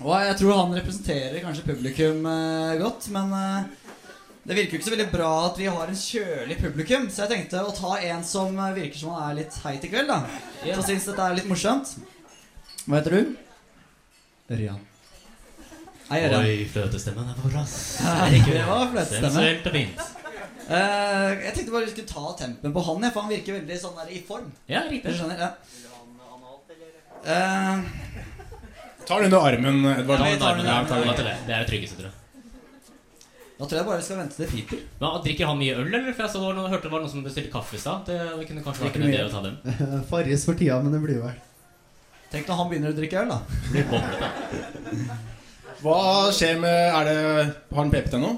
Speaker 10: Og jeg tror han representerer kanskje publikum eh, godt, men eh, det virker jo ikke så veldig bra at vi har en kjølig publikum, så jeg tenkte å ta en som eh, virker som han er litt heit i kveld, da.
Speaker 24: Ja.
Speaker 10: Som syns dette er litt morsomt. Hva heter du? Ørjan. Hei, Ørjan.
Speaker 6: Oi, fløtestemmen er på plass.
Speaker 10: Det var fløtestemme.
Speaker 6: Sensuelt og fint.
Speaker 10: Eh, jeg tenkte bare vi skulle ta tempen på han, jeg, for han virker veldig sånn der i form.
Speaker 6: Ja, riktig.
Speaker 10: Du skjønner, ja. Eh,
Speaker 7: Tar den under armen, Edvard.
Speaker 6: Ta den under armen,
Speaker 7: Ja,
Speaker 6: ja,
Speaker 7: vi tar den
Speaker 6: ja,
Speaker 7: under
Speaker 6: det.
Speaker 7: armen.
Speaker 6: Det er det tryggeste, tror jeg.
Speaker 10: Da tror jeg bare vi skal vente til det piper.
Speaker 6: Men, drikker han mye øl, eller? For jeg så det var noen, hørte det var noen som bestilte kaffe i stad. Det, det kunne kanskje vært
Speaker 10: Drikker
Speaker 6: en idé
Speaker 10: mye.
Speaker 6: å ta den.
Speaker 25: Farris for tida, men det blir vel.
Speaker 10: Tenk når han begynner å drikke øl, da.
Speaker 6: Blir boblete.
Speaker 7: Hva skjer med Er det Har den pepet ennå?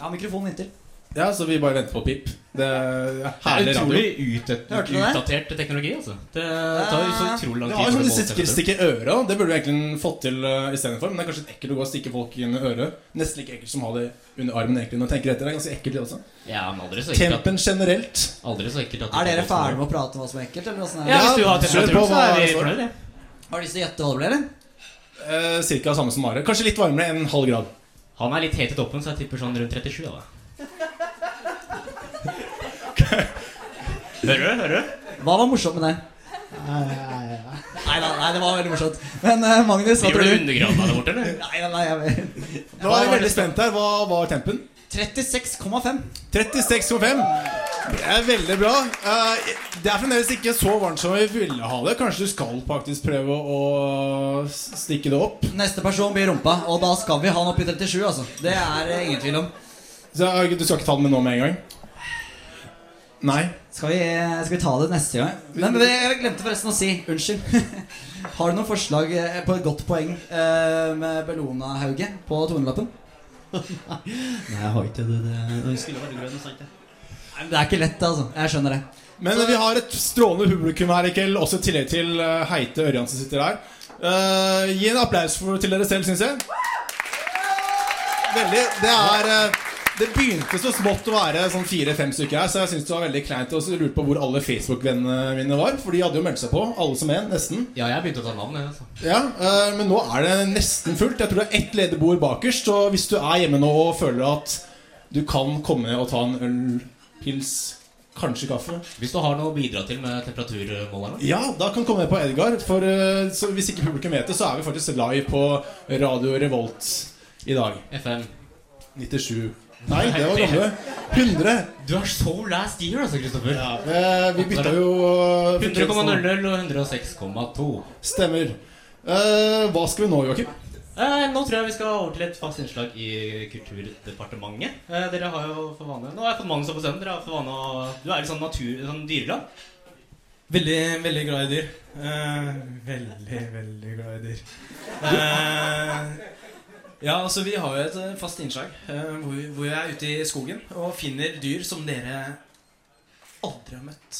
Speaker 10: Ja, mikrofonen inntil.
Speaker 7: Ja, så vi bare venter på pip. Det er herlig radio.
Speaker 6: Utrolig utdat-
Speaker 7: Hørte du det?
Speaker 6: utdatert teknologi, altså. Det tar jo så utrolig lang
Speaker 7: Det
Speaker 6: tid.
Speaker 7: har jo
Speaker 6: for å
Speaker 7: sånn
Speaker 6: måle
Speaker 7: stikke,
Speaker 6: temperatur.
Speaker 7: stikke øret også. Det burde du egentlig fått til uh, istedenfor. Men det er kanskje ekkelt å gå og stikke folk inn i øret. Nesten like ekkelt som å ha det under armen. egentlig Når jeg tenker etter, det er ganske ekkelt det også.
Speaker 6: Ja, men aldri så ekkelt at-
Speaker 7: Tempen generelt.
Speaker 6: Aldri så ekkelt at
Speaker 10: Er dere ferdige med å prate om hva som er ekkelt? Eller hvordan er det?
Speaker 7: Ja, hvis du har temperatur, Kjør på, så er hva vi er det for? fornøyd,
Speaker 10: Har du lyst til å gjette hva det ble, eller?
Speaker 7: Eh, cirka samme som Are. Kanskje litt varmere enn halv grad.
Speaker 6: Han er litt helt i toppen, så jeg tipper sånn rundt 37. da Hører du? Hører du?
Speaker 10: Hva var morsomt med det?
Speaker 25: Nei, nei,
Speaker 10: Nei da, nei, det var veldig morsomt. Men eh, Magnus, hva
Speaker 6: Blir
Speaker 10: tror
Speaker 6: du
Speaker 10: du?
Speaker 6: undergravd der borte, eller?
Speaker 10: Nei, nei, nei, jeg vet
Speaker 7: Nå er jeg veldig spent her. Hva var tempen?
Speaker 10: 36,5.
Speaker 7: 36,5. Det er veldig bra. Eh, Det er fremdeles ikke så varmt som vi ville ha det. Kanskje du skal faktisk prøve å s- stikke det opp?
Speaker 10: Neste person blir rumpa, og da skal vi ha den opp i 37, altså. Det er eh, ingen tvil om.
Speaker 7: Så, eh, du skal ikke ta den med nå med en gang? Nei.
Speaker 10: Skal vi, eh, skal vi ta det neste gang? Nei, men jeg glemte forresten å si. Unnskyld. Har du noen forslag eh, på et godt poeng eh, med Bellona-Hauge på tonelappen?
Speaker 7: Nei, jeg har ikke det.
Speaker 6: skulle vært grønn og sant, det.
Speaker 10: Nei, men Det er ikke lett, altså. Jeg skjønner det.
Speaker 7: Men vi har et strålende publikum her i kveld, også i tillegg til eh, Heite Ørjan som sitter her. Eh, gi en applaus for, til dere selv, syns jeg. Veldig. Det er eh, Det begynte så smått å være sånn fire-fem stykker her, så jeg syns det var veldig kleint å lure på hvor alle Facebook-vennene mine var. For de hadde jo meldt seg på, alle som en, nesten.
Speaker 6: Ja, jeg begynte å ta navn, jeg, altså.
Speaker 7: Ja, eh, men nå er det nesten fullt. Jeg tror det er ett ledig bord bakerst. Så hvis du er hjemme nå og føler at du kan komme og ta en øl, pils, kanskje kaffe
Speaker 6: Hvis du har noe å bidra til med temperaturmåleren
Speaker 7: ja, da kan komme med på Edgar. For eh, så hvis ikke publikum vet det, så er vi faktisk live på Radio Revolt i dag.
Speaker 6: FM
Speaker 7: 97. Nei, det var gamle. 100.
Speaker 6: Du er så last year, altså, Kristoffer. Ja,
Speaker 7: Eh, vi bytta jo eh,
Speaker 6: 100,00 og 106,2.
Speaker 7: Stemmer. Eh, hva skal vi nå, Joakim?
Speaker 6: Eh, nå tror jeg vi skal over til et fast innslag i Kulturdepartementet. Eh, dere har jo for vane Nå har jeg fått mannen som på scenen. Dere har for vane å Du er litt sånn natur... Sånn dyreland.
Speaker 26: Veldig, veldig glad i dyr. Eh, veldig, veldig glad i dyr. Eh, ja, altså Vi har jo et eh, fast innslag eh, hvor, hvor jeg er ute i skogen og finner dyr som dere aldri har møtt.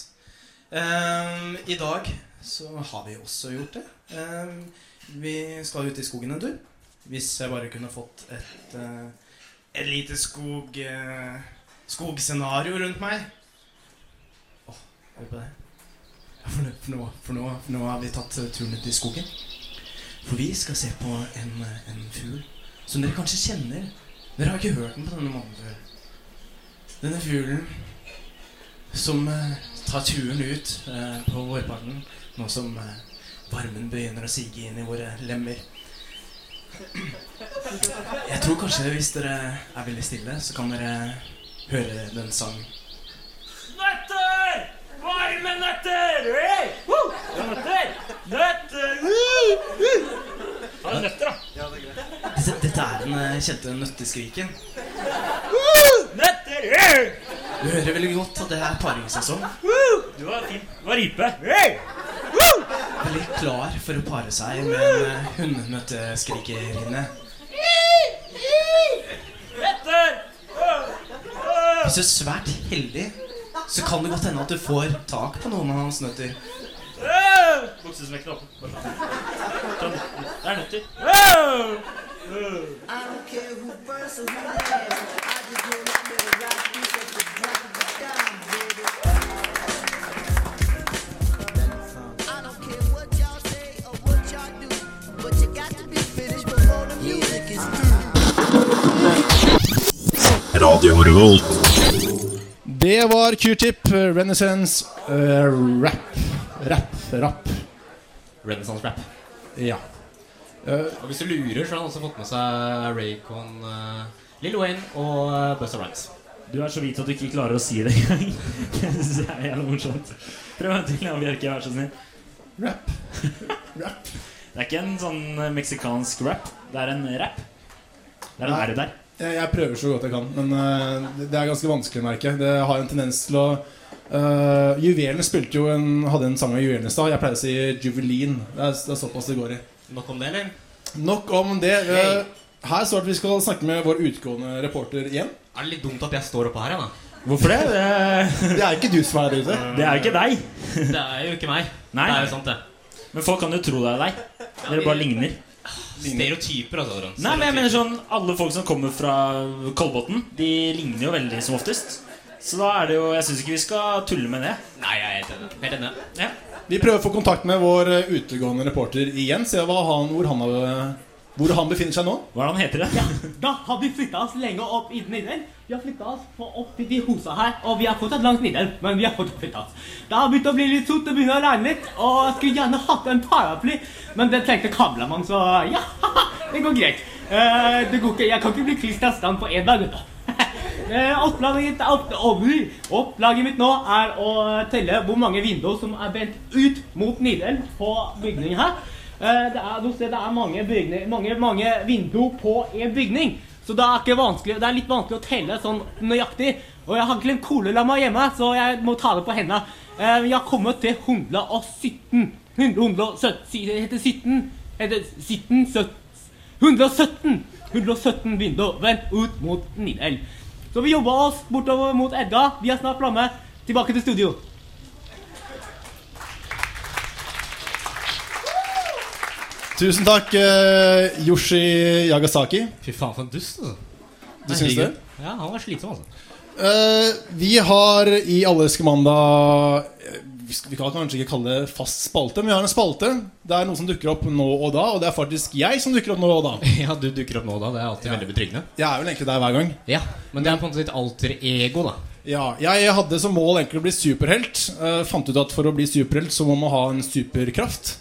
Speaker 26: Eh, I dag så har vi også gjort det. Eh, vi skal ut i skogen en tur. Hvis jeg bare kunne fått et, eh, et lite skog, eh, skogscenario rundt meg. Åh, hør på det. Ja, for, nå, for, nå, for, nå, for nå har vi tatt eh, turen ut i skogen. For vi skal se på en, eh, en fugl som dere kanskje kjenner. Dere har ikke hørt den på denne måten før. Denne fuglen som eh, tar turen ut eh, på vårparten nå som eh, varmen begynner å sige inn i våre lemmer. Jeg tror kanskje hvis dere er veldig stille, så kan dere høre den sang.
Speaker 27: Nøtter! Varme nøtter! Hey! Woo! Nøtter! Nøtter! Uh! Uh!
Speaker 26: Har du nøtter,
Speaker 27: da?
Speaker 26: Dette, dette er den eh, kjente nøtteskriken.
Speaker 27: Nøtter! Hey!
Speaker 26: Du hører veldig godt at det er paringssesong.
Speaker 27: Woo! Du var fin. Du var ripe. Hey!
Speaker 26: Veldig klar for å pare seg med en eh, hundnøtteskrikerinne.
Speaker 27: Nøtter!
Speaker 26: Hvis du er svært heldig, så kan det godt hende at du får tak på noen av hans nøtter.
Speaker 2: Buksesmekken åpen. Bare ta den. Ta den. Det er nøtter.
Speaker 27: I don't care who bursts or who laughs. I just know that little rock piece at the drop of a dime, baby. I don't care what y'all say or what y'all do, but you got to be finished before the music is
Speaker 9: Radio Revolt.
Speaker 7: Det var Q-tip, eh, Renaissance eh, rap. Rap, rap.
Speaker 6: Renaissance-rap.
Speaker 7: Ja. Eh,
Speaker 6: Og hvis du lurer, så har han også fått med seg Raycon, uh, Lill Wayne og uh, Busta Rhymes.
Speaker 2: Du er så vidt at du ikke klarer å si det engang. Det synes jeg er jævlig morsomt. Prøv en til, da, Bjerke. Vær så snill.
Speaker 7: Rap.
Speaker 2: rap. Det er ikke en sånn eh, meksikansk rap. Det er en rap. Det er en
Speaker 7: Nei.
Speaker 2: R der.
Speaker 7: Jeg, jeg prøver så godt jeg kan, men eh, det- det er ganske vanskelig, merker jeg. Det har en tendens til å uh, Juvelen spilte jo en, hadde en sang av Juvelen i stad. Jeg pleier å si Juvelin. Det er, det er såpass det går i.
Speaker 6: Nok om det, eller?
Speaker 7: Nok om det. Eh, her står det at vi skal snakke med vår utgående reporter igjen.
Speaker 6: Er det litt dumt at jeg står oppå her, da?
Speaker 7: Hvorfor det? Det er ikke du som er der ute.
Speaker 2: Eh, Det er jo ikke deg.
Speaker 6: Det er jo ikke meg.
Speaker 2: Nei.
Speaker 6: Det er jo sant, det.
Speaker 2: Men folk kan jo tro det er deg. Dere bare ligner.
Speaker 6: Stereotyper, altså. Adrian.
Speaker 2: Nei, men jeg mener sånn Alle folk som kommer fra Kolbotn, de ligner jo veldig som oftest. Så da er det jo Jeg syns ikke vi skal tulle med det.
Speaker 6: Nei, jeg er helt enig. Helt enig.
Speaker 2: Ja.
Speaker 7: Vi prøver å få kontakt med vår eh, utegående reporter igjen. Se hva han, hvor han har Hvor han befinner seg nå?
Speaker 2: Hvordan heter det?
Speaker 6: Da har vi flytta oss lenger opp i Nidelv. Vi har flytta oss på opp til de husa her, og vi er fortsatt langs Nidelv. Men vi har fortsatt flyttet oss. Det har begynt å bli litt sot å begynne alene litt, og jeg skulle gjerne hatt en paraply, men den trengte kablemann, så ja, det går greit. Eh, det går ikke, jeg kan ikke bli kliss stand på én dag, vet du. Eh, Opplaget, mitt- opp, over. Opplaget mitt nå er å telle hvor mange vinduer som er vendt ut mot Nidelv på bygningen her. Eh, Det er, du ser, det er mange, bygning, mange, mange vinduer på en bygning, så det er, ikke vanskelig, det er litt vanskelig å telle sånn nøyaktig. Og jeg har glemt kolelamma hjemme, så jeg må ta det på hendene. Eh, Jeg har kommet til 117. 117 heter 17. Heter 17, 17 117! 117 vinduer vendt ut mot Nidelv. Så vi jobba oss bortover mot Edga. Vi er snart framme. Tilbake til studio.
Speaker 7: Tusen takk, eh, Yoshi Yagasaki.
Speaker 10: Fy faen, for en dust. Altså.
Speaker 7: Du syns det?
Speaker 10: Ja, han var slitsom, altså.
Speaker 7: Eh, vi har i Allerske mandag eh, Vi skal- vi kan kanskje ikke kalle det fast spalte, men vi har en spalte. Det er noe som dukker opp nå og da, og det er faktisk jeg som dukker opp nå og da.
Speaker 10: Ja, du dukker opp nå og da. Det er alltid veldig betryggende.
Speaker 7: Jeg er vel egentlig der hver gang.
Speaker 10: Ja, Men det er på en måte ditt alter ego, da.
Speaker 7: Ja, Jeg hadde som mål egentlig å bli superhelt. Eh, fant ut at for å bli superhelt så må man ha en superkraft.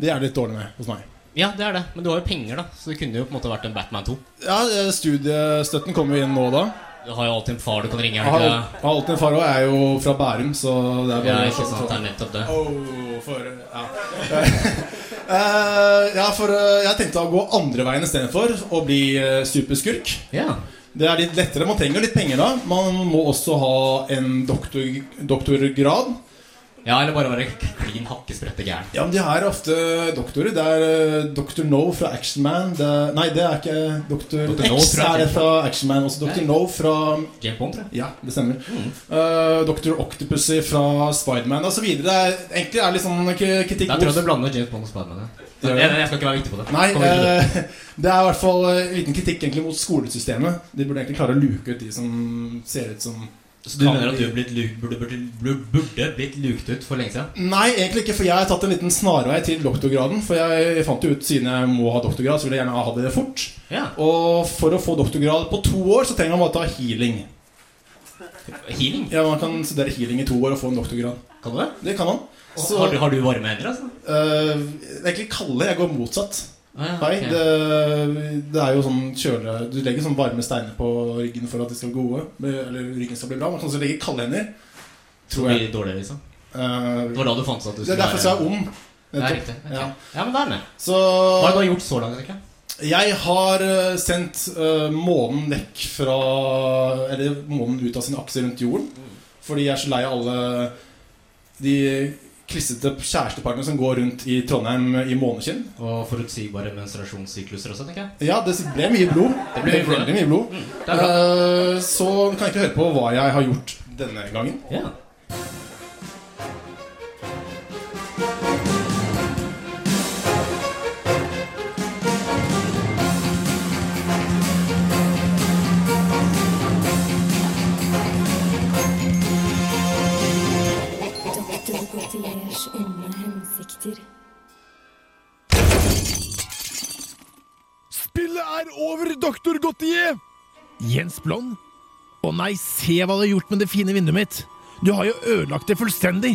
Speaker 7: Det er det litt dårlig med hos meg.
Speaker 10: Ja, det er det. Men du har jo penger, da. Så det kunne jo på en måte vært en Batman 2.
Speaker 7: Ja, eh, Studiestøtten kommer jo inn nå og da.
Speaker 10: Du har jo alltid en far du kan ringe.
Speaker 7: Jeg
Speaker 10: er det
Speaker 7: har,
Speaker 10: ikke det?
Speaker 7: jeg har alltid en far, og jeg er jo fra Bærum, så det er bare
Speaker 10: Ja, ikke sant. Det er nettopp det.
Speaker 7: Oh, for, ja. Eh, ja, for eh, jeg tenkte å gå andre veien istedenfor å bli eh, superskurk. Det er litt lettere. Man trenger jo litt penger da. Man må også ha en doktor, doktorgrad.
Speaker 10: Ja, eller bare være klin hakkesprette gæren.
Speaker 7: Ja, men de her er ofte doktorer. Det er eh, Dr. No fra Actionman. Nei, det er ikke Dr.
Speaker 10: Dr. No
Speaker 7: X
Speaker 10: fra
Speaker 7: er det
Speaker 10: James
Speaker 7: fra Actionman. Også Dr.
Speaker 10: Nei.
Speaker 7: No fra
Speaker 10: James Bond, tror jeg.
Speaker 7: Ja, det stemmer. Eh, Dr. Octopus fra Spiderman osv. Egentlig er det litt sånn k- kritikk
Speaker 10: Da
Speaker 7: mot-
Speaker 10: tror jeg du blander James Bond og Spiderman. ja.
Speaker 7: Det gjør
Speaker 10: Jeg,
Speaker 7: det.
Speaker 10: jeg skal ikke være viktig på det.
Speaker 7: Nei,
Speaker 10: Kommer ikke til det.
Speaker 7: eh, det er i hvert fall eh, liten kritikk egentlig mot skolesystemet. De burde egentlig klare å luke ut de som ser ut som
Speaker 10: Så du
Speaker 7: kan
Speaker 10: mener at
Speaker 7: bli-
Speaker 10: du blitt lu- burde, burde, burde, burde blitt luket ut for lenge siden?
Speaker 7: Nei, egentlig ikke, for jeg har tatt en liten snarvei til doktorgraden. For jeg fant jo ut, siden jeg må ha doktorgrad, så vil jeg gjerne ha det fort. Og for å få doktorgrad på to år, så trenger man bare ta healing.
Speaker 10: Healing?
Speaker 7: Ja, man kan studere healing i to år og få en doktorgrad.
Speaker 10: Kan du det?
Speaker 7: Det kan man.
Speaker 10: Og har du- har du varme hender, altså?
Speaker 7: Eh, det er egentlig kalde. Jeg går motsatt.
Speaker 10: Ah, ja,
Speaker 7: Hei,
Speaker 10: ok.
Speaker 7: det, det er jo sånn kjøle Du legger sånn varme steiner på ryggen for at de skal bli gode. Eller ryggen skal bli bra. sånn Man kan også legge kalde hender.
Speaker 10: Så blir det dårligere, liksom?
Speaker 7: det
Speaker 10: var da du fant ut at du
Speaker 7: Det
Speaker 10: skulle
Speaker 7: er derfor jeg er ond.
Speaker 10: Det er riktig. ok. Ja. men da er det.
Speaker 7: Så
Speaker 10: Hva har du gjort så langt? Ikke?
Speaker 7: Jeg har eh, sendt eh, månen vekk fra Eller månen ut av sin akse rundt jorden. Fordi jeg er så lei av alle de klissete kjæresteparene som går rundt i Trondheim i måneskinn.
Speaker 10: Og forutsigbare menstruasjonssykluser også, tenker jeg.
Speaker 7: Ja, det ble mye blod.
Speaker 10: Det ble mye blod, ja.
Speaker 7: veldig mye blod.
Speaker 10: det er bra.
Speaker 7: Eh, så kan jeg ikke høre på hva jeg har gjort denne gangen.
Speaker 10: Ja.
Speaker 28: Doktor Gautiers onde hensikter.
Speaker 1: Spillet er over, doktor Gautier! Jens Blond? Å nei, se hva du har gjort med det fine vinduet mitt! Du har jo ødelagt det fullstendig!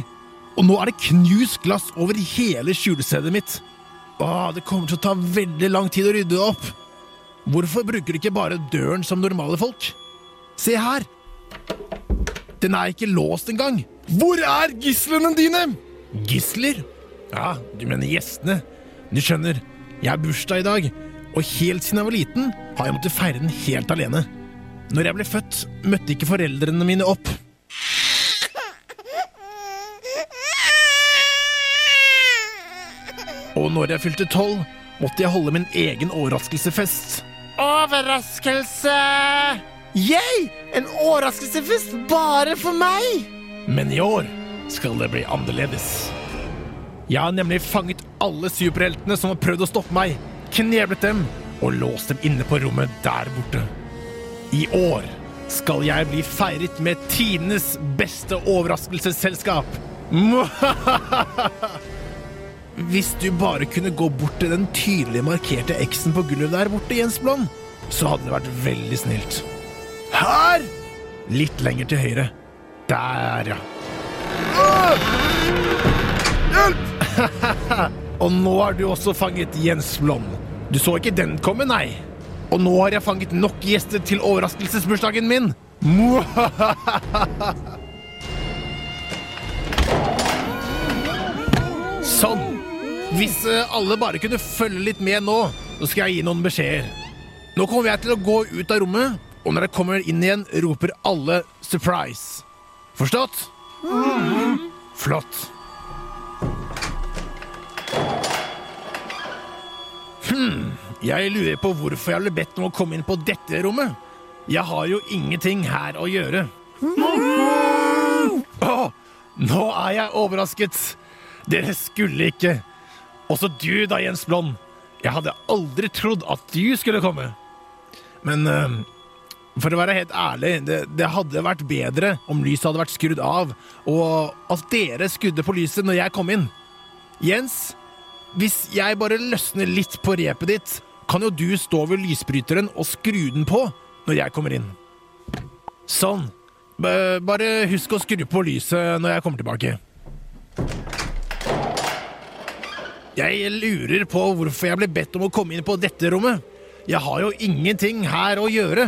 Speaker 1: Og nå er det knust glass over hele skjulestedet mitt! Åh, det kommer til å ta veldig lang tid å rydde det opp! Hvorfor bruker du ikke bare døren som normale folk? Se her! Den er ikke låst engang! Hvor er gislene dine? Gisler? Ja, du mener gjestene. Du skjønner, jeg har bursdag i dag, og helt siden jeg var liten har jeg måttet feire den helt alene. Når jeg ble født, møtte ikke foreldrene mine opp. Og når jeg fylte tolv, måtte jeg holde min egen overraskelsefest.
Speaker 29: Overraskelse! Yay! En overraskelsefest bare for meg!
Speaker 1: Men i år skal det bli annerledes. Jeg har nemlig fanget alle superheltene som har prøvd å stoppe meg, kneblet dem og låst dem inne på rommet der borte. I år skal jeg bli feiret med tidenes beste overraskelsesselskap. Mwahaha! Hvis du bare kunne gå bort til den tydelig markerte X-en på gulvet der borte, Jens Blom, så hadde det vært veldig snilt. Her! Litt lenger til høyre. Der, ja. Hjelp! og nå har du også fanget Jens Blom. Du så ikke den komme, nei. Og nå har jeg fanget nok gjester til overraskelsesbursdagen min. Sånn. Hvis eh, alle bare kunne følge litt med nå, så skal jeg gi noen beskjeder. Nå kommer jeg til å gå ut av rommet, og når jeg kommer inn igjen, roper alle 'surprise'. Forstått? Flott. Hm, jeg lurer på hvorfor jeg ble bedt om å komme inn på dette rommet. Jeg har jo ingenting her å gjøre. Åh, nå er jeg overrasket. Dere skulle ikke. Også du da, Jens Blond. Jeg hadde aldri trodd at du skulle komme. Men eh, for å være helt ærlig, det, det hadde vært bedre om lyset hadde vært skrudd av, og at dere skudde på lyset når jeg kom inn. Jens, hvis jeg bare løsner litt på repet ditt, kan jo du stå ved lysbryteren og skru den på når jeg kommer inn. Sånn. B- Bare husk å skru på lyset når jeg kommer tilbake. Jeg lurer på hvorfor jeg ble bedt om å komme inn på dette rommet. Jeg har jo ingenting her å gjøre.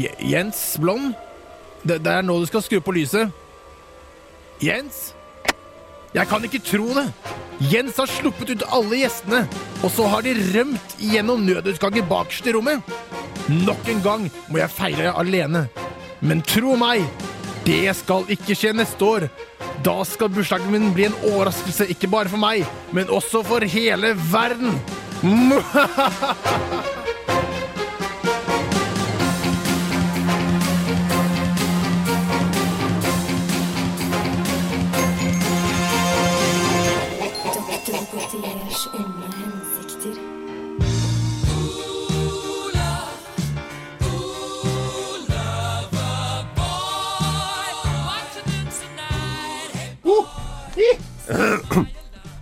Speaker 1: Je Jens Blom? Det, det er nå du skal skru på lyset. Jens? Jeg kan ikke tro det! Jens har sluppet ut alle gjestene, og så har de rømt gjennom nødutgangen bakerst i rommet. Nok en gang må jeg feire alene. Men tro meg, det skal ikke skje neste år. Da skal bursdagen min bli en overraskelse, ikke bare for meg, men også for hele verden.
Speaker 30: Doktor Gautiers onde hensikter.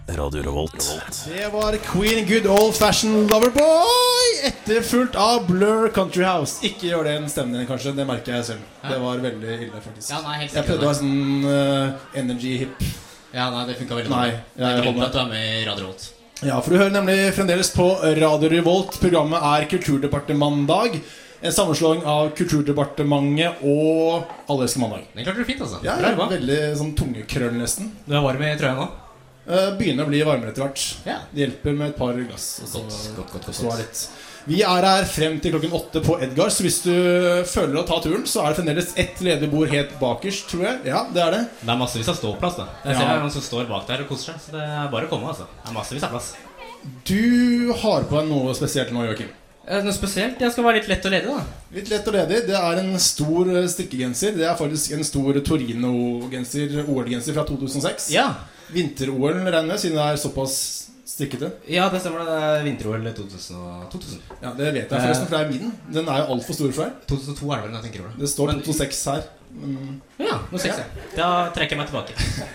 Speaker 9: Radio Revolt.
Speaker 7: Det var Queen Good Old Fashioned Loverboy etterfulgt av Blur Country House. Ikke gjør den stemmen din, kanskje. Det merker jeg selv.
Speaker 6: Hæ?
Speaker 7: Det var veldig ille, faktisk.
Speaker 6: Ja, nei, helt sikkert
Speaker 7: jeg prøvde å være sånn eh, energy hip.
Speaker 6: Ja, nei, det funka veldig
Speaker 7: Nei,
Speaker 6: dårlig.
Speaker 7: jeg
Speaker 6: det er
Speaker 7: holder
Speaker 6: grunnen til at du er med i Radio Volt.
Speaker 7: Ja, for du hører nemlig fremdeles på Radio Revolt. Programmet er Kulturdepartementsdag. En sammenslåing av Kulturdepartementet og Allelske mandag.
Speaker 6: Den klarte du fint, altså.
Speaker 7: Ja,
Speaker 6: Bra
Speaker 7: ja,
Speaker 6: jobba.
Speaker 7: veldig sånn tungekrøll, nesten.
Speaker 6: Du er varm i trøya nå?
Speaker 7: Eh, Begynner å bli varmere etter hvert. Det hjelper med et par glass. Og så, så er det litt. Vi er her frem til klokken åtte på Edgar, så hvis du føler å ta turen, så er det fremdeles ett ledig bord helt bakerst, tror jeg. Ja, det er det.
Speaker 10: Det er massevis av ståplass. da Jeg ser
Speaker 7: Ja.
Speaker 10: det er noen som står bak der og koser seg. Så det er bare å komme. altså Det er massevis av plass.
Speaker 7: Du har på deg noe spesielt nå, Joakim.
Speaker 6: Eh, Noe spesielt? Jeg skal være litt lett og ledig, da.
Speaker 7: Litt lett og ledig. Det er en stor eh, strikkegenser. Det er faktisk en stor Torino-genser, OL-genser fra 2006.
Speaker 6: Ja.
Speaker 7: Vinter-OL, regner jeg med, siden det er såpass strikkete.
Speaker 6: Ja, det stemmer. Det Det er vinter-OL 2000. og- 2000.
Speaker 7: Ja, Det vet jeg forresten, for det er min. Den er jo altfor stor for deg.
Speaker 6: 2002 er det vel, når jeg tenker over det.
Speaker 7: Det står 2006 her. men-
Speaker 6: Ja, nå ser jeg.
Speaker 10: Da trekker jeg meg tilbake.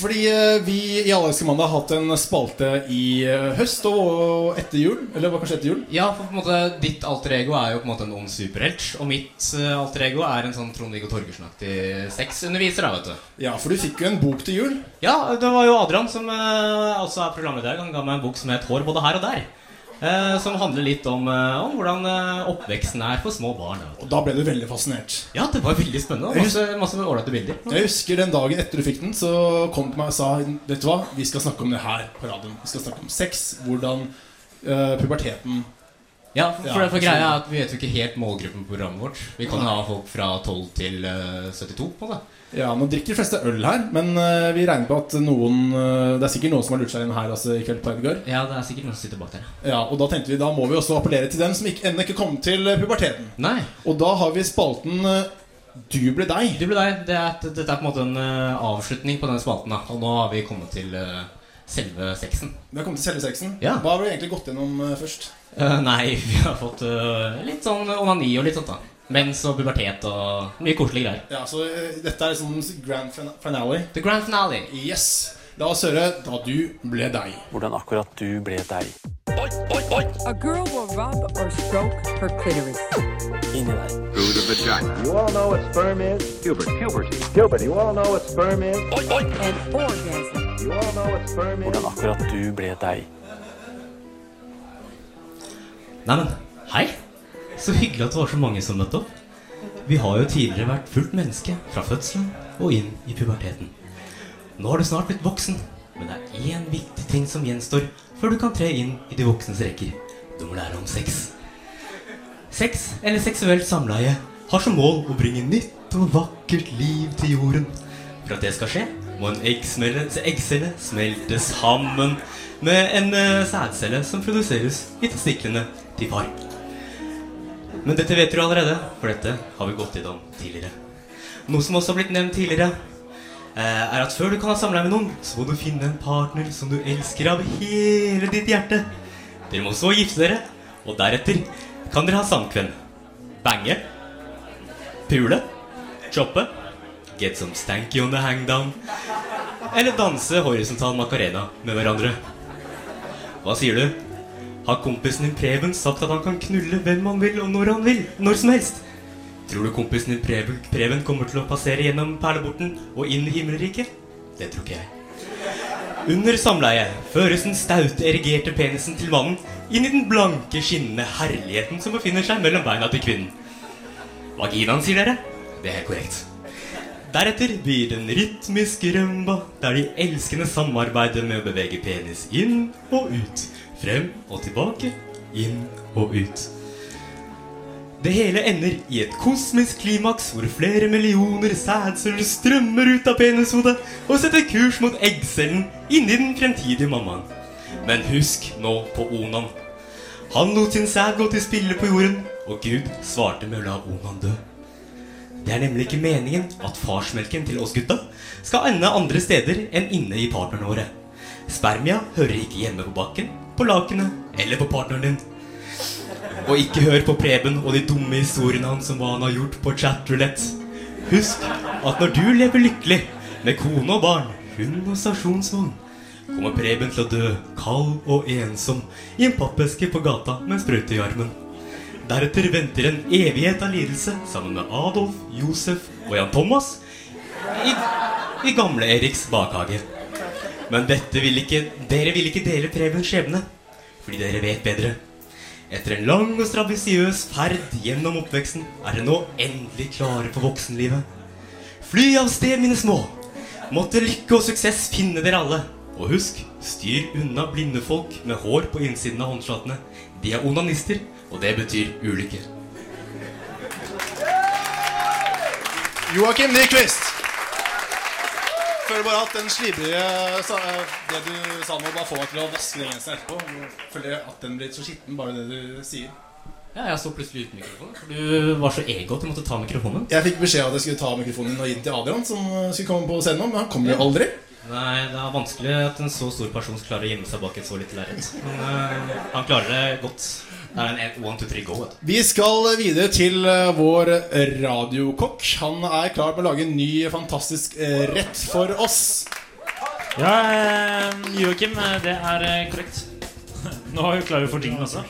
Speaker 7: Fordi eh, vi i Allerske mandag har hatt en spalte i eh, høst og etter jul. Eller det var kanskje etter jul?
Speaker 6: Ja, for på en måte ditt alter ego er jo på en måte en ond superhelt. Og mitt eh, alter ego er en sånn Trond-Viggo Torgersen-aktig sexunderviser. da, vet du
Speaker 7: Ja, for du fikk jo en bok til jul.
Speaker 10: Ja, det var jo Adrian som eh, også er programleder. Han ga meg en bok som het Hår både her og der. eh, som handler litt om, eh, om hvordan eh, oppveksten er for små barn. da, vet du.
Speaker 7: Og da ble du veldig fascinert.
Speaker 10: Ja, det var veldig spennende.
Speaker 7: Jeg
Speaker 10: Masse, masse ålreite bilder.
Speaker 7: Jeg husker den dagen etter du fikk den, så kom du til meg og sa Vet du hva, vi skal snakke om det her på radioen. Vi skal snakke om sex, hvordan eh, puberteten
Speaker 6: Ja, for, for, for greia er at Vi vet jo ikke helt målgruppen på programmet vårt. Vi kan
Speaker 7: Nei.
Speaker 6: ha folk fra 12 til eh, 72. på det
Speaker 7: Ja, nå drikker de fleste øl her, men eh, vi regner på at noen eh, Det er sikkert noen som har lurt seg inn her altså, i kveld på Edgar.
Speaker 6: Ja, det er sikkert noen som sitter bak der.
Speaker 7: Ja, og da tenkte vi da må vi også appellere til dem som ikke, ennå ikke kom til eh, puberteten.
Speaker 6: Nei
Speaker 7: Og da har vi spalten eh, Du ble deg.
Speaker 6: Du ble deg. Det er, dette er på en måte en eh, avslutning på denne spalten. da Og nå har vi kommet til eh, selve sexen.
Speaker 7: Vi har kommet til selve sexen.
Speaker 6: Ja.
Speaker 7: Hva har vi egentlig gått gjennom eh, først?
Speaker 6: Eh, nei, vi har fått eh, litt sånn onani og litt sånt, da. Mens og pubertet og mye koselige greier.
Speaker 7: Ja, så eh, Dette er liksom grand fin- finale.
Speaker 6: The grand finale.
Speaker 7: Yes. La oss høre da du ble deg. Hvordan akkurat du ble deg.
Speaker 10: A girl will rub or stroke her clitoris.
Speaker 31: Inni der.
Speaker 10: You all know what sperm is? Puberty. Puberty. Puberty. You all know what sperm is? An orgasm. You all know what sperm is?
Speaker 31: Hvordan akkurat du ble deg.
Speaker 6: Neimen, hei! Så hyggelig at det var så mange som møtte opp. Vi har jo tidligere vært fullt menneske fra fødselen og inn i puberteten. Nå har du snart blitt voksen, men det er én viktig ting som gjenstår før du kan tre inn i de voksnes rekker. Du må lære om sex. Sex, eller seksuelt samleie, har som mål å bringe nytt og vakkert liv til jorden. For at det skal skje, må en eggsmelle- eggcelle smelte sammen med en eh, sædcelle som produseres i testiklene til far. Men dette vet dere allerede, for dette har vi gått gjennom tidligere. Noe som også har blitt nevnt tidligere, eh, er at før du kan ha samleie med noen, så må du finne en partner som du elsker av hele ditt hjerte. Dere må så gifte dere, og deretter kan dere ha samkvem. Bange, pule, choppe, get some stanky on the hangdown, eller danse horisontal macarena med hverandre. Hva sier du? Har kompisen din Preben sagt at han kan knulle hvem han vil og når han vil, når som helst? Tror du kompisen din Preben, Preben kommer til å passere gjennom perleborten og inn i himmelriket? Det tror ikke jeg. Under samleie føres den staute, erigerte penisen til mannen inn i den blanke, skinnende herligheten som befinner seg mellom beina til kvinnen. Vaginaen, sier dere? Det er helt korrekt. Deretter blir det en rytmisk rumba der de elskende samarbeider med å bevege penis inn og ut. Frem og tilbake, inn og ut. Det hele ender i et kosmisk klimaks hvor flere millioner sædceller strømmer ut av penishodet og setter kurs mot eggcellen inni den fremtidige mammaen. Men husk nå på Onan. Han lot sin sæd gå til spille på jorden, og Gud svarte med å la Onan dø. Det er nemlig ikke meningen at farsmelken til oss gutta skal ende andre steder enn inne i partnerne våre. Spermia hører ikke hjemme på bakken, på lakenet eller på partneren din. Og ikke hør på Preben og de dumme historiene hans om hva han har gjort på chatroulette. Husk at når du lever lykkelig med kone og barn, hund og stasjonsvogn, kommer Preben til å dø kald og ensom i en pappeske på gata med en sprøyte i armen. Deretter venter en evighet av lidelse sammen med Adolf, Josef og Jan Thomas i, i gamle Eriks bakhage. Men dette vil ikke, dere vil ikke dele Prebens skjebne, fordi dere vet bedre. Etter en lang og strabisiøs ferd gjennom oppveksten er dere nå endelig klare for voksenlivet. Fly av sted, mine små! Måtte lykke og suksess finne dere alle. Og husk, styr unna blinde folk med hår på innsiden av håndflatene. De er onanister, og det betyr ulykke.
Speaker 7: Joakim Nyquist. Føler bare at den slibrige sa- eh, Det du sa nå, bare får meg til å vaske den genseren etterpå. Føler at den blir så skitten, bare det du sier.
Speaker 6: Ja, jeg står plutselig uten mikrofon. For du var så ego at du måtte ta mikrofonen.
Speaker 7: Jeg fikk beskjed om at jeg skulle ta mikrofonen din og gi den til Adrian, som skulle komme på scenen, nå, men han kommer jo aldri.
Speaker 6: Nei, det er vanskelig at en så stor person skal klare å gjemme seg bak et så lite lerret. Men eh, han klarer det godt. Det er en one, two, three, go. Vet du.
Speaker 7: Vi skal videre til eh, vår radiokokk. Han er klar på å lage en ny fantastisk eh, rett for oss.
Speaker 2: Ja, eh, Joakim, eh, det er eh, korrekt. Nå er vi klare for jinglen også.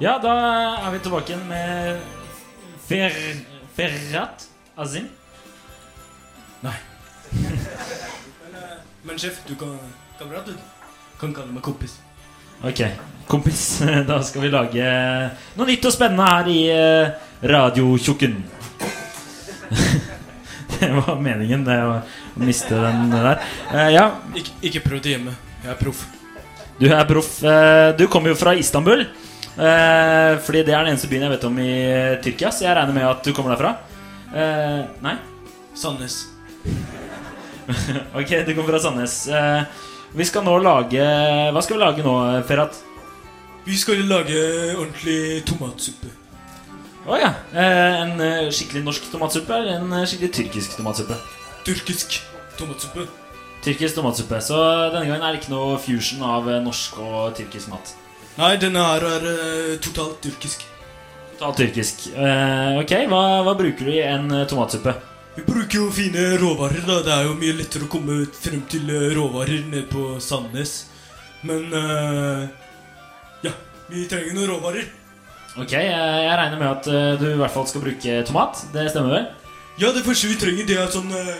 Speaker 2: Ja, da er vi tilbake igjen med Fer... Ferhat Azim.
Speaker 32: Men sjef, du kan Kamerat, du kan kalle meg kompis.
Speaker 2: Ok, kompis. Da skal vi lage noe nytt og spennende her i eh, Radiotjukken. Det var meningen, det å miste den der. Eh, Ja,
Speaker 32: Ikke, ikke prøv det hjemme. Jeg er proff.
Speaker 2: Du er proff. Eh, Du kommer jo fra Istanbul. Eh, Fordi det er den eneste byen jeg vet om i eh, Tyrkia, så jeg regner med at du kommer derfra. Eh, Nei? Sandnes. ok, du kommer fra Sandnes. Eh, Vi skal nå lage Hva skal vi lage nå, Ferhat?
Speaker 32: Vi skal lage ordentlig tomatsuppe.
Speaker 2: Å ja. Eh, En eh, skikkelig norsk tomatsuppe eller en eh, skikkelig tyrkisk tomatsuppe?
Speaker 32: Tyrkisk tomatsuppe.
Speaker 2: Tyrkisk tomatsuppe. Så denne gangen er det ikke noe fusion av eh, norsk og tyrkisk mat.
Speaker 32: Nei, denne her er eh, totalt tyrkisk.
Speaker 2: Totalt tyrkisk. Eh, ok, hva, hva bruker du i en eh, tomatsuppe?
Speaker 33: Vi bruker jo fine råvarer, da. Det er jo mye lettere å komme ut frem til eh, råvarer nede på Sandnes. Men eh, ja, vi trenger noen råvarer.
Speaker 2: Ok, eh, jeg regner med at eh, du i hvert fall skal bruke tomat. Det stemmer vel?
Speaker 33: Ja, det første vi trenger, det er sånn eh,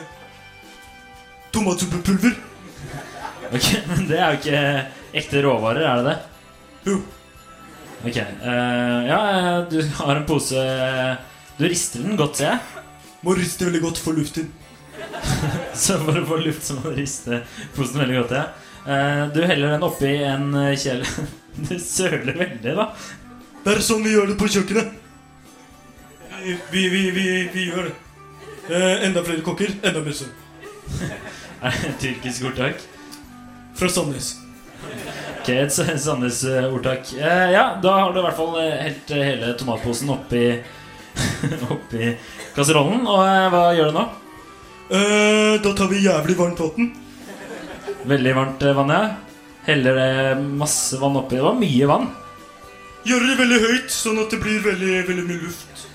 Speaker 33: tomatsuppepulver.
Speaker 2: Ok, Men det er jo ikke eh, ekte råvarer, er det det? Jo. Ok. eh, ja, eh, du har en pose eh, Du rister den godt, ser jeg.
Speaker 33: Må riste veldig godt for luften.
Speaker 2: Så for å få luft, så må du riste posen veldig godt, ja. Eh, du heller den oppi en eh, kjele Du søler veldig, da.
Speaker 33: Det er sånn vi gjør det på kjøkkenet. Vi, vi, vi, vi, vi gjør det. Eh, enda flere kokker, enda mer søvn.
Speaker 2: Er det et tyrkisk ordtak?
Speaker 33: Fra Sandnes.
Speaker 2: Ok, et S- Sandnes eh, ordtak. Eh, ja, da har du i hvert fall eh, helt eh, hele tomatposen oppi, oppi kasserollen. Og eh, hva gjør du nå?
Speaker 33: da tar vi jævlig varmt vann.
Speaker 2: Veldig varmt eh, vann, ja. Heller det masse vann oppi. Det var mye vann.
Speaker 33: Gjøre det veldig høyt, sånn at det blir veldig, veldig mye luft.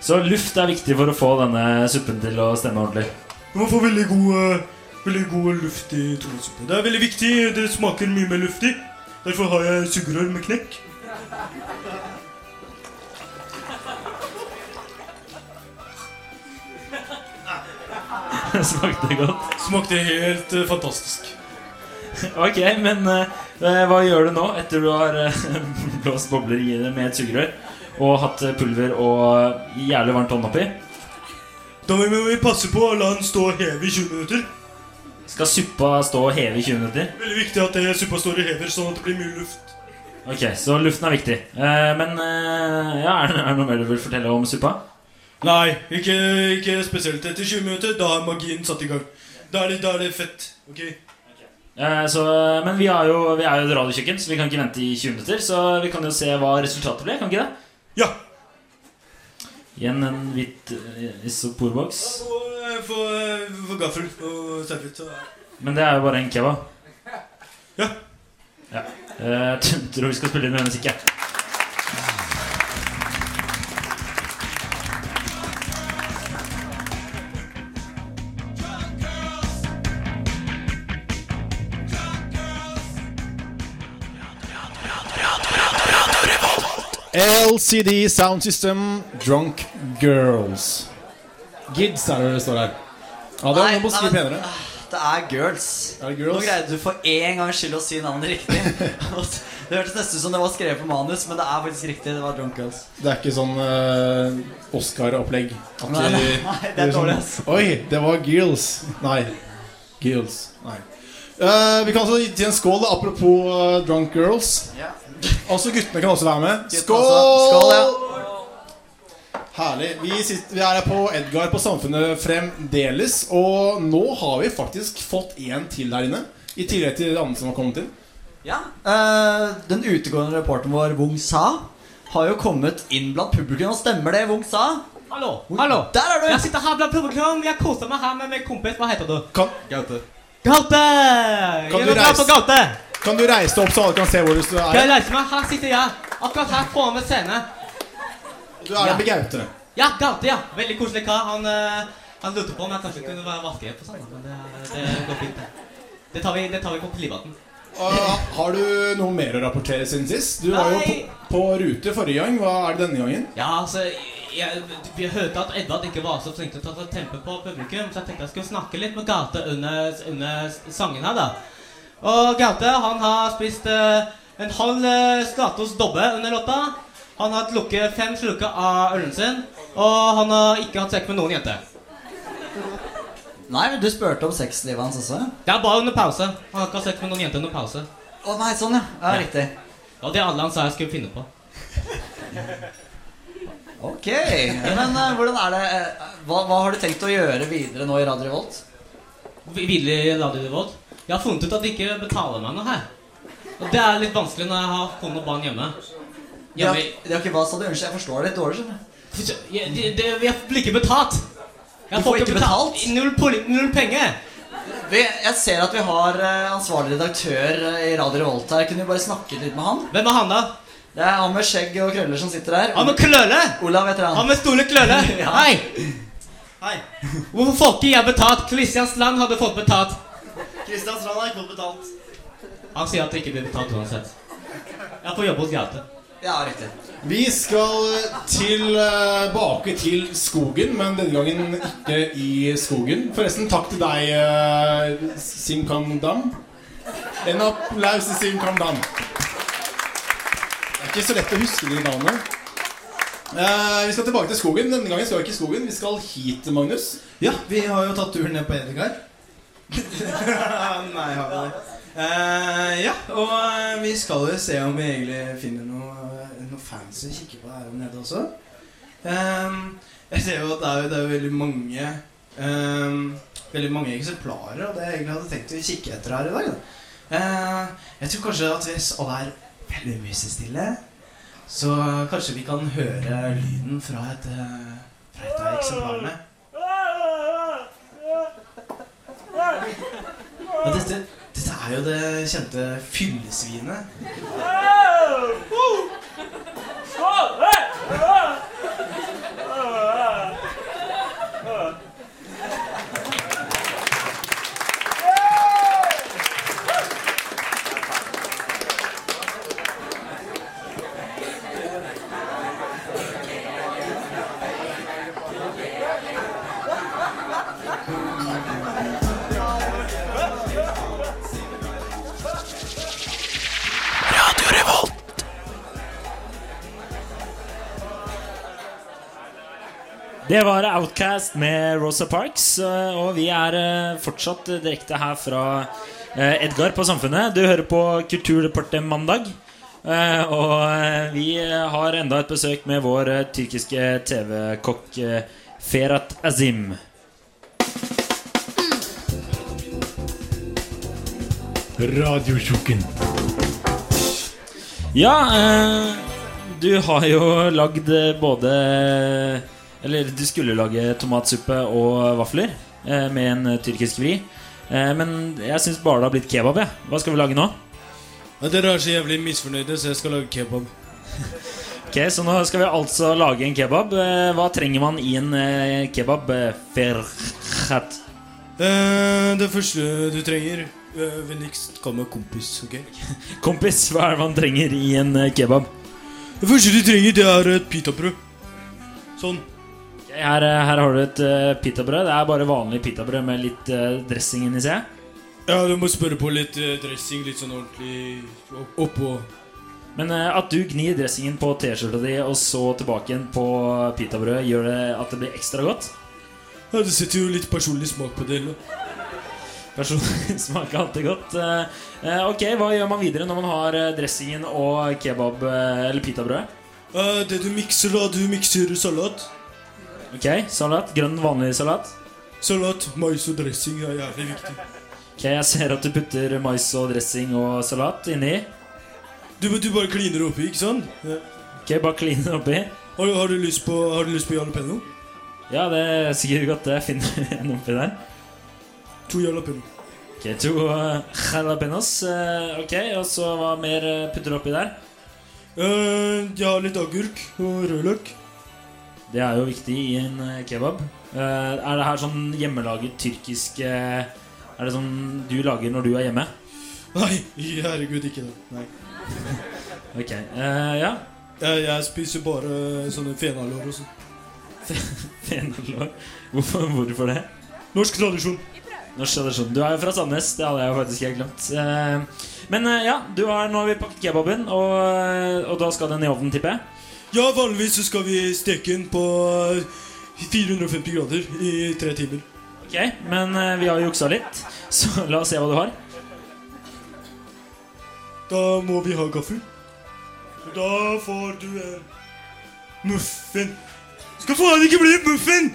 Speaker 2: Så luft er viktig for å få denne suppen til å stemme ordentlig.
Speaker 33: Du må få veldig god, eh, veldig god luft i tomatsuppe. Det er veldig viktig. Det smaker mye mer luftig. Derfor har jeg sugerør med knekk.
Speaker 2: Smakte godt.
Speaker 33: Smakte helt eh, fantastisk.
Speaker 2: Ok, men eh, eh, hva gjør du nå etter du har eh, blåst bobler i det med et sugerør og hatt eh, pulver og jævlig varmt vann oppi?
Speaker 33: Da må vi- vi passe på å la den stå og heve i 20 minutter.
Speaker 2: Skal suppa stå og heve i 20 minutter?
Speaker 33: Veldig viktig at eh, suppa står og hever, sånn at det blir mye luft.
Speaker 2: Ok, så luften er viktig. Eh, men eh, ja, er det er det noe mer du vil fortelle om suppa?
Speaker 33: Nei, ikke, ikke spesielt etter 20 minutter. Da er magien satt i gang. Da er det, da er det fett. ok?
Speaker 2: Eh, så, men vi, har jo, vi er jo et radiokjøkken, så vi kan ikke vente i 20 minutter. Så vi kan jo se hva resultatet blir, kan ikke det?
Speaker 33: Ja.
Speaker 2: Igjen en hvit eh, isoporboks.
Speaker 33: Og få få gaffel og serviett. og-
Speaker 2: Men det er jo bare en kebab. Ja. Eh, t- tror vi skal spille inn mer musikk, jeg.
Speaker 7: LCD Sound System Drunk Girls. Gids er det det står her. Ja, det var noe på å skrive
Speaker 10: nei, men- ah,
Speaker 7: penere.
Speaker 10: Det er girls. Nå greide du for én gangs skyld å si navnet riktig. det hørtes nesten ut som det var skrevet på manus, men det er faktisk riktig. Det var Drunk Girls.
Speaker 7: Det er ikke sånn eh, Oscar-opplegg. At
Speaker 10: Nei, nei,
Speaker 7: de-
Speaker 10: nei, det er
Speaker 7: de
Speaker 10: dårlig, altså.
Speaker 7: sånn,
Speaker 10: ass.
Speaker 7: Oi, det var girls. Nei. Girls. Nei. Eh, vi kan også gi til en skål, da, apropos eh, drunk girls.
Speaker 10: Ja.
Speaker 7: Også guttene kan også være med.
Speaker 10: Guttene
Speaker 7: Skål!
Speaker 10: også. Skål,
Speaker 7: Herlig. Vi, sitter, vi er her på Edgar på Samfunnet fremdeles. Og nå har vi faktisk fått én til her inne. I tillegg til de andre som har kommet inn.
Speaker 10: Ja. Eh, den utegående reporteren vår, Wung Sa, har jo kommet inn blant publikum. Og stemmer det, Wung Sa?
Speaker 6: Hallo.
Speaker 10: Hvor-
Speaker 6: Hallo.
Speaker 10: Der er du!
Speaker 6: Jeg sitter her blant publikum. Jeg koser meg her med min kompis. Hva heter du?
Speaker 7: Kan,
Speaker 6: Gaute. Gaute!
Speaker 7: Kan
Speaker 6: Gi
Speaker 7: du
Speaker 6: en applaus
Speaker 7: reise-
Speaker 6: for Gaute.
Speaker 7: Kan du reise deg opp, så alle kan se hvor du er?
Speaker 6: Skal jeg reise meg? Her sitter jeg. Akkurat her foran ved scenen.
Speaker 7: Du er med Gaute.
Speaker 6: Ja, Gaute, ja. Veldig koselig kar. Han, eh, han lurte på om jeg kanskje kunne være vaskehjelp og sånn, da, men det, det går fint, det. Det tar vi, det tar vi på privaten.
Speaker 7: Og Har du noe mer å rapportere siden sist? Du var jo på,
Speaker 6: Nei.
Speaker 7: på rute forrige gang. Hva er det denne gangen?
Speaker 6: Ja, altså, jeg, vi hørte at Edvard ikke var så flink til å ta tempe på publikum, så jeg tenkte jeg skulle snakke litt med Gaute under, under sangen her, da. Og Gaute, han har spist eh, en halv uh, Stratos dobbe under låta. Han har lukket fem slukker av ølen sin, og han har ikke hatt sekk med noen jenter.
Speaker 10: Nei, men du spurte om sexlivet hans også.
Speaker 6: Det er bare under pause. Han har ikke hatt sekk med noen jenter under pause.
Speaker 10: Å nei, sånn, ja. ja. Riktig.
Speaker 6: Og det alle han sa jeg skulle finne på.
Speaker 10: Ok. Men eh, hvordan er det eh, hva, hva har du tenkt å gjøre videre nå i Radio Revolt?
Speaker 6: Videre i Radio Revolt. Jeg har funnet ut at de ikke betaler meg noe her. Og det er litt vanskelig når jeg har kone og barn hjemme.
Speaker 10: Det har, det har ikke hva sa du? Unnskyld, jeg forstår det litt dårlig. skjønner du.
Speaker 6: Jeg, det, det, jeg blir ikke betalt.
Speaker 10: Du
Speaker 6: Jeg
Speaker 10: får ikke
Speaker 6: betalt. Null, poli- null penger.
Speaker 10: Vi, jeg ser at vi har eh, ansvarlig redaktør eh, i Radio Revolt her. Kunne vi bare snakket litt med han?
Speaker 6: Hvem er han, da?
Speaker 10: Det er han med skjegg og krøller som sitter her.
Speaker 6: Han med klølle!
Speaker 10: Olav heter han.
Speaker 6: Han med store klølle.
Speaker 10: Ja.
Speaker 6: Hei!
Speaker 34: Hei. Hvorfor får ikke jeg betalt? Kristiansland hadde fått betalt.
Speaker 35: Kristiansand har ikke fått betalt.
Speaker 34: Han sier at det ikke blir betalt uansett. Jeg får jobbe hos Gaute.
Speaker 36: Ja, riktig.
Speaker 7: Vi skal eh, tilbake til skogen, men denne gangen ikke i skogen. Forresten, takk til deg, eh, Sim Kam Dam. En applaus til Sim Kam Dam. Det er ikke så lett å huske de navnene. Eh, vi skal tilbake til skogen. Denne gangen skal vi ikke i skogen, vi skal hit, Magnus.
Speaker 10: Ja, vi har jo tatt turen ned på Edgar. Nei, har vi det? Eh, ja, og eh, vi skal jo se om vi egentlig finner noe, eh, noe fancy å kikke på her nede også. Ehm, jeg ser jo at det er, jo- det er jo veldig mange ehm, Veldig mange eksemplarer av det jeg egentlig hadde tenkt å kikke etter her i dag. Da. Eh, jeg tror kanskje at hvis alle er veldig musestille, så kanskje vi kan høre lyden fra et, eh, fra et av eksemplarene. Ja, dette, dette er jo det kjente fyllesvinet.
Speaker 9: Radio Revolt.
Speaker 2: Det var Outcast med Rosa Parks, eh, og vi er eh, fortsatt direkte her fra eh, Edgar på Samfunnet. Du hører på Kulturdepartementet mandag. eh, Og eh, vi har enda et besøk med vår eh, tyrkiske TV-kokk eh, Ferhat Azim.
Speaker 37: Radiotjukken.
Speaker 2: Ja, eh, du har jo lagd eh, både Eller du skulle lage tomatsuppe og vafler eh, med en tyrkisk vri. Eh, men jeg syns bare det har blitt kebab. jeg. Hva skal vi lage nå?
Speaker 6: Ja, Dere er så jævlig misfornøyde, så jeg skal lage kebab.
Speaker 2: Ok, Så nå skal vi altså lage en kebab. Eh, hva trenger man i en eh, kebab? eh, Ferhat.
Speaker 6: Eh, det første du trenger eh, Vennligst kall meg kompis, ok?
Speaker 2: Kompis, hva er det man trenger i en eh, kebab?
Speaker 6: Det første du trenger, det er et pitabrød. Sånn.
Speaker 2: Ok, Her, eh, her har du et eh, pitabrød. Det er bare vanlig pitabrød med litt eh, dressing inni seg.
Speaker 6: Ja, du må spørre på litt eh, dressing, litt sånn ordentlig opp- oppå.
Speaker 2: Men eh, at du gnir dressingen på T-skjorta di og så tilbake igjen på pitabrødet, gjør det at det blir ekstra godt?
Speaker 6: Ja, det setter jo litt personlig smak på det hele.
Speaker 2: Personlig smak er alltid godt. Eh, eh, Ok, hva gjør man videre når man har eh, dressingen og kebab eh, eller pitabrødet?
Speaker 6: Eh, det du mikser, da, du mikser salat.
Speaker 2: Ok, salat. Grønn, vanlig salat.
Speaker 6: Salat, mais og dressing er jævlig viktig.
Speaker 2: Ok, jeg ser at du putter mais og dressing og salat inni.
Speaker 6: Du, du bare kliner oppi, ikke sant? Ja.
Speaker 2: Ok, bare kliner oppi.
Speaker 6: Har, har du lyst på, har du lyst på jalapeno?
Speaker 2: Ja, det er sikkert godt det finner en oppi der.
Speaker 6: To jalapeno.
Speaker 2: Ok, to eh, jalapenos. Eh, Ok, og så hva mer eh, putter du oppi der?
Speaker 6: Eh, jeg har litt agurk og rødløk.
Speaker 2: Det er jo viktig i en eh, kebab. Eh, er det her sånn hjemmelaget tyrkisk eh, Er det sånn du lager når du er hjemme?
Speaker 6: Nei, herregud, ikke det. Nei.
Speaker 2: Ok, eh, ja.
Speaker 6: Jeg, jeg spiser bare eh, sånne fenalår og sånn.
Speaker 2: Fenalår? Hvorfor, hvorfor det?
Speaker 6: Norsk tradisjon.
Speaker 2: Norsk tradisjon. Du er jo fra Sandnes. Det hadde jeg jo faktisk helt glemt. Eh, men eh, ja, du har, nå har vi pakket kebaben, og, eh, og da skal den i ovnen, tipper jeg?
Speaker 6: Ja, vanligvis så skal vi steke den på eh, 450 grader i tre timer.
Speaker 2: Ok, men eh, vi har jo juksa litt, så la oss se hva du har.
Speaker 6: Da må vi ha gaffel. Og Da får du en muffin. Skal faen ikke bli muffin!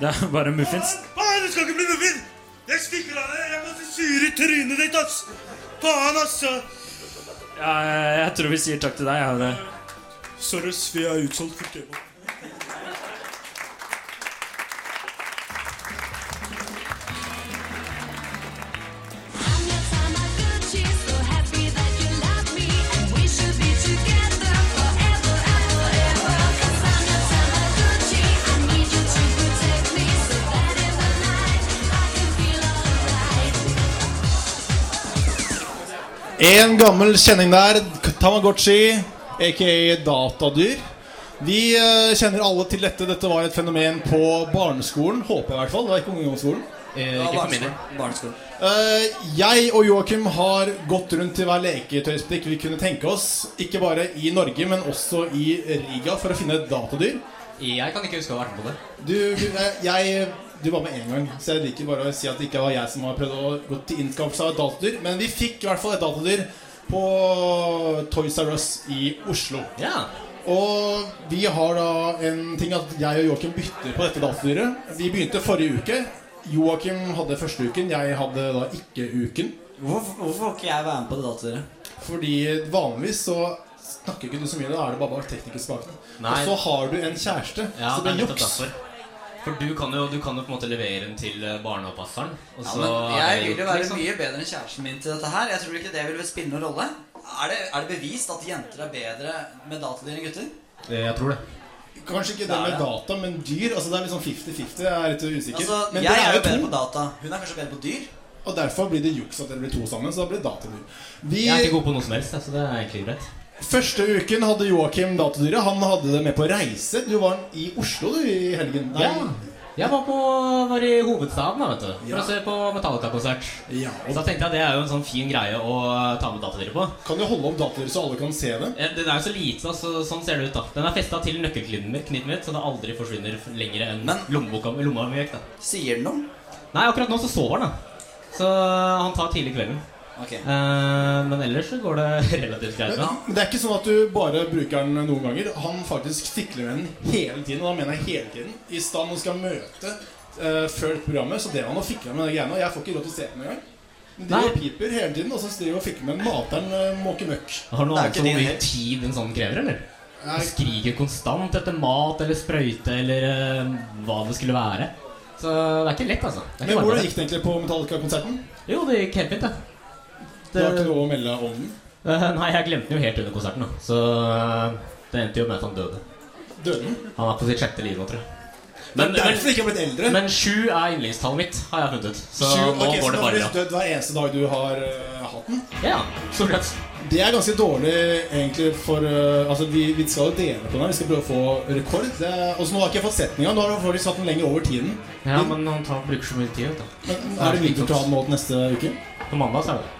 Speaker 2: Det er bare muffins.
Speaker 6: Faen, du skal ikke bli muffin! Jeg stikker av deg. Jeg må sure i trynet ditt, ass. Faen, altså.
Speaker 2: Ja, eh, jeg tror vi sier takk til deg. Ja, det.
Speaker 6: Sorry, ass, vi er utsolgt for kebab.
Speaker 9: Together forever and forever. Cause I'm your Tamagotchi. I need you to protect
Speaker 7: En gammel kjenning der, Tamagotchi, aka datadyr. Vi eh, kjenner alle til dette. Dette var et fenomen på barneskolen. Håper jeg, i hvert fall. Det var ikke ungdomsskolen.
Speaker 10: Ja, barneskolen. barneskolen.
Speaker 7: Eh, jeg og Joakim har gått rundt til hver leketøysbutikk vi kunne tenke oss. Ikke bare i Norge, men også i Riga for å finne et datadyr.
Speaker 6: Jeg kan ikke huske å ha vært med på det.
Speaker 7: Du, eh, jeg, du var med én gang, så jeg liker bare å si at det ikke var jeg som har prøvd å gå til innskaffelse av et datadyr. Men vi fikk i hvert fall et datadyr på Toys R Us i Oslo. Og vi har da en ting at jeg og Joakim bytter på dette datadyret. Vi begynte forrige uke. Joakim hadde første uken, jeg hadde da ikke uken. Hvorfor, får ikke jeg være med på det datadyret? Fordi vanligvis så snakker ikke du så mye, da er det bare teknikerspakene. Og
Speaker 6: Nei.
Speaker 7: så har du en kjæreste, så det
Speaker 6: Ja, det er
Speaker 7: blir
Speaker 6: nettopp
Speaker 7: juks.
Speaker 6: derfor. For du kan, jo, du kan jo på en måte levere den til eh, barneoppasseren. Og
Speaker 10: Ja,
Speaker 6: så
Speaker 10: men
Speaker 6: er
Speaker 10: jeg
Speaker 6: det
Speaker 10: vil jo
Speaker 6: gjort,
Speaker 10: være
Speaker 6: liksom.
Speaker 10: mye bedre enn kjæresten min til dette her. Jeg tror ikke det vil spille noen rolle. Er det, er det bevist at jenter er bedre med datadyr enn gutter?
Speaker 6: Jeg tror det.
Speaker 7: Kanskje ikke
Speaker 10: Det
Speaker 7: det
Speaker 10: er
Speaker 7: med
Speaker 10: det.
Speaker 7: data, men dyr. Altså Det er litt sånn 50-50. Jeg er litt usikker.
Speaker 10: Altså,
Speaker 7: men
Speaker 10: jeg
Speaker 7: dere
Speaker 10: er jo
Speaker 7: to.
Speaker 10: bedre på data. Hun er kanskje bedre på dyr.
Speaker 7: Og derfor blir det juks at dere blir to sammen. Så da blir det datadyr. Vi-
Speaker 6: Jeg er ikke god på noe som helst, jeg, så det er egentlig greit.
Speaker 7: Første uken hadde Joakim datadyret. Han hadde det med på reise. Du var i Oslo du i helgen. Nei.
Speaker 6: Ja. Jeg var, på, var i hovedstaden da, vet du for
Speaker 7: Ja.
Speaker 6: å se på Metallica-konsert. Så da tenkte jeg det er jo en sånn fin greie å ta med datadyret på. Eh,
Speaker 7: Kan du holde opp datadyret så alle kan se det?
Speaker 6: Den er jo så liten, altså, sånn ser det ut. da Den er festa til nøkkelkniven min, kniven min, så det aldri forsvinner f- lenger enn lommeboka lomma mi gikk. da
Speaker 10: Sier den noe?
Speaker 6: Nei, akkurat nå så sover han, da. Så han tar tidlig kvelden.
Speaker 10: Ok.
Speaker 6: Eh, men ellers så går det relativt greit. med han.
Speaker 7: Men det er ikke sånn at du bare bruker den noen ganger. Han faktisk fikler med den hele tiden. Og da mener jeg hele tiden. I stand når han skal møte eh, før programmet, så det han og fikler med de greiene. Og jeg får ikke råd til å se den engang. Men De
Speaker 6: Nei.
Speaker 7: piper hele tiden, og så driver og fikler med den. materen uh, måker møkk.
Speaker 6: Har du noe annet om hvor mye tid en sånn krever, eller?
Speaker 7: Nei.
Speaker 6: Han skriker konstant etter mat eller sprøyte eller eh, hva det skulle være. Så det er ikke lett, altså. Det er
Speaker 7: Men
Speaker 6: ikke bare
Speaker 7: hvordan
Speaker 6: det.
Speaker 7: gikk det egentlig på Metallica-konserten?
Speaker 6: Jo, det gikk helt fint, det.
Speaker 7: Du har ikke noe å melde om den?
Speaker 6: Eh, nei, jeg glemte den jo helt under konserten, da. Så eh, det endte jo med at han døde.
Speaker 7: Døde den?
Speaker 6: Han er på sitt sjette liv nå, tror jeg.
Speaker 7: Det er derfor ikke har blitt eldre.
Speaker 6: Men sju er yndlingstallet mitt, har jeg funnet ut. Så
Speaker 7: Sju-
Speaker 6: nå
Speaker 7: ok, så da
Speaker 6: går det
Speaker 7: har
Speaker 6: bare
Speaker 7: du
Speaker 6: bra.
Speaker 7: dødd hver eneste dag du har eh, hatt den?
Speaker 6: Ja, stort sett.
Speaker 7: Det er ganske dårlig, egentlig, for eh, Altså, vi, vi skal jo dele på den. her Vi skal prøve å få rekord. Det er- Og så nå har jeg ikke fått setninga. Nå har du faktisk hatt den lenger over tiden.
Speaker 6: Ja, men han tar, bruker så mye tid, vet du.
Speaker 7: Men Er det vinter til å ha den nå til neste uke?
Speaker 6: På mandag så er det det.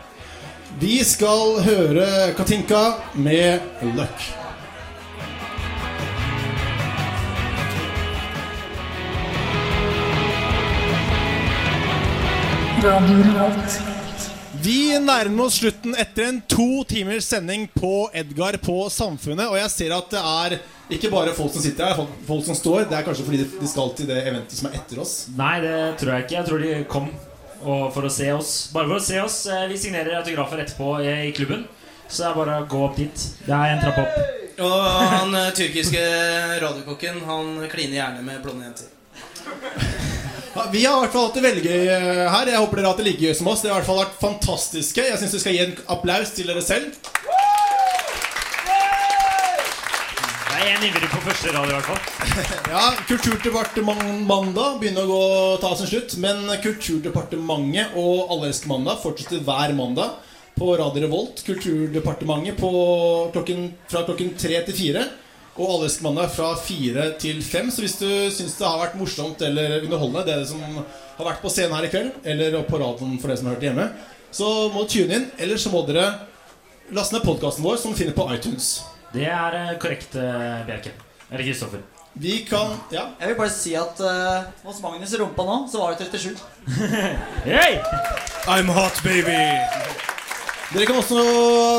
Speaker 7: Vi skal høre Katinka med 'Luck'. Vi nærmer oss slutten etter en to timers sending på Edgar på Samfunnet. Og jeg ser at det er ikke bare folk som sitter her, folk- folk som står. Det er kanskje fordi de- de skal til det eventet som er etter oss.
Speaker 2: Nei, det tror jeg ikke. Jeg tror de kom og for å se oss. Bare for å se oss. Eh, Vi signerer autografer etterpå i i klubben. Så det er bare å gå opp dit. Det er en trapp opp.
Speaker 38: Og han eh, tyrkiske radiokokken, han kliner gjerne med blonde jenter.
Speaker 7: Ja, vi har i hvert fall hatt det veldig gøy eh, her. Jeg håper dere har hatt det like gøy som oss. Dere har i hvert fall vært fantastiske. Jeg syns vi skal gi en applaus til dere selv.
Speaker 2: Jeg er en ivrig på første rad i hvert fall.
Speaker 7: Ja, Kulturdepartementet mandag begynner å gå, ta sin slutt. Men Kulturdepartementet og Allelske mandag fortsetter hver mandag på Radio Revolt. Kulturdepartementet på klokken, fra klokken tre til fire. Og Allelske mandag fra fire til fem. Så hvis du syns det har vært morsomt eller underholdende, det som har vært på scenen her i kveld, eller på radioen for dere som har hørt det hjemme, så må du tune inn. Eller så må dere laste ned podkasten vår, som du finner på iTunes.
Speaker 2: Det er eh, korrekt, eh, Bjerke. Eller Kristoffer.
Speaker 7: Vi kan Ja.
Speaker 39: Jeg vil bare si at eh, hos Magnus i rumpa nå, så var det 37.
Speaker 7: I'm hot, baby! Dere kan også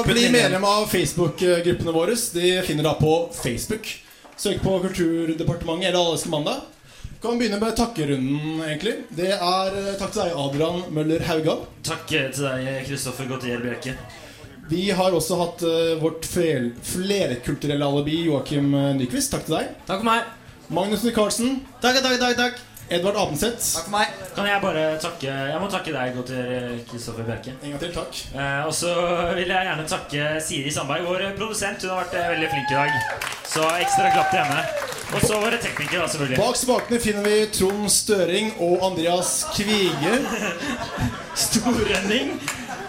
Speaker 7: bli medlem av Facebook-gruppene våre. De finner da på Facebook. Søk på Kulturdepartementet eller Alleske mandag. Kan begynne med takkerunden, egentlig. Det er eh, takk til deg, Adrian Møller Haugan.
Speaker 2: Takk eh, til deg, Kristoffer Gautier Bjerke.
Speaker 7: Vi har også hatt eh, vårt fel flerkulturelle alibi, Joakim eh, Nyquist. Takk til deg.
Speaker 6: Takk for meg.
Speaker 7: Magnus Micaelsen. Takk, takk, takk, takk. Edvard Apenseth. Takk
Speaker 39: for meg.
Speaker 2: Kan jeg bare takke Jeg må takke deg, Gautier Kristoffer Bjerke.
Speaker 7: En gang til, takk.
Speaker 2: Eh, og så vil jeg gjerne takke Siri Sandberg, vår produsent. Hun har vært eh, veldig flink i dag. Så ekstra klapp til henne. Og så våre teknikere, da, selvfølgelig.
Speaker 7: Bak spakene finner vi Trond Støring og Andreas Kvige.
Speaker 2: Storrønning.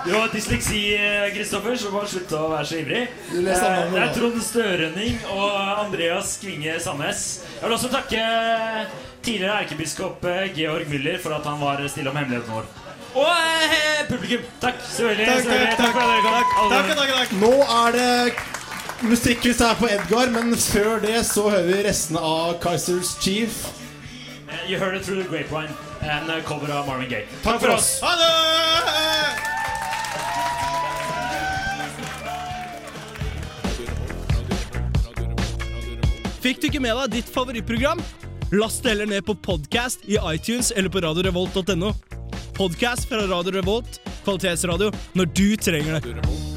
Speaker 2: Du har dysleksi, eh, Kristoffer, så bare slutt å være så ivrig.
Speaker 40: Du
Speaker 2: Det
Speaker 40: leser
Speaker 2: er
Speaker 40: navnet
Speaker 2: det er
Speaker 40: nå.
Speaker 2: Trond Størønning og Andreas Kvinge Sandnes. Jeg vil også takke eh, tidligere erkebiskop eh, Georg Müller for at han var stille om hemmeligheten vår. Og eh, publikum. Takk. Selvfølgelig.
Speaker 7: Takk,
Speaker 2: selvfølgelig.
Speaker 7: takk,
Speaker 2: for at dere kom. Alle sammen.
Speaker 7: Nå er det musikkquiz her på Edgar, men før det så hører vi restene av Kaizers Chief.
Speaker 2: Eh, You heard it through the grapevine. En eh, cover av Marvin Gaye.
Speaker 7: Takk for oss.
Speaker 2: Ha det!
Speaker 6: Fikk du ikke med deg ditt favorittprogram? Last det heller ned på podcast i iTunes eller på radiorevolt.no. Podcast fra Radio Revolt, kvalitetsradio når du trenger det.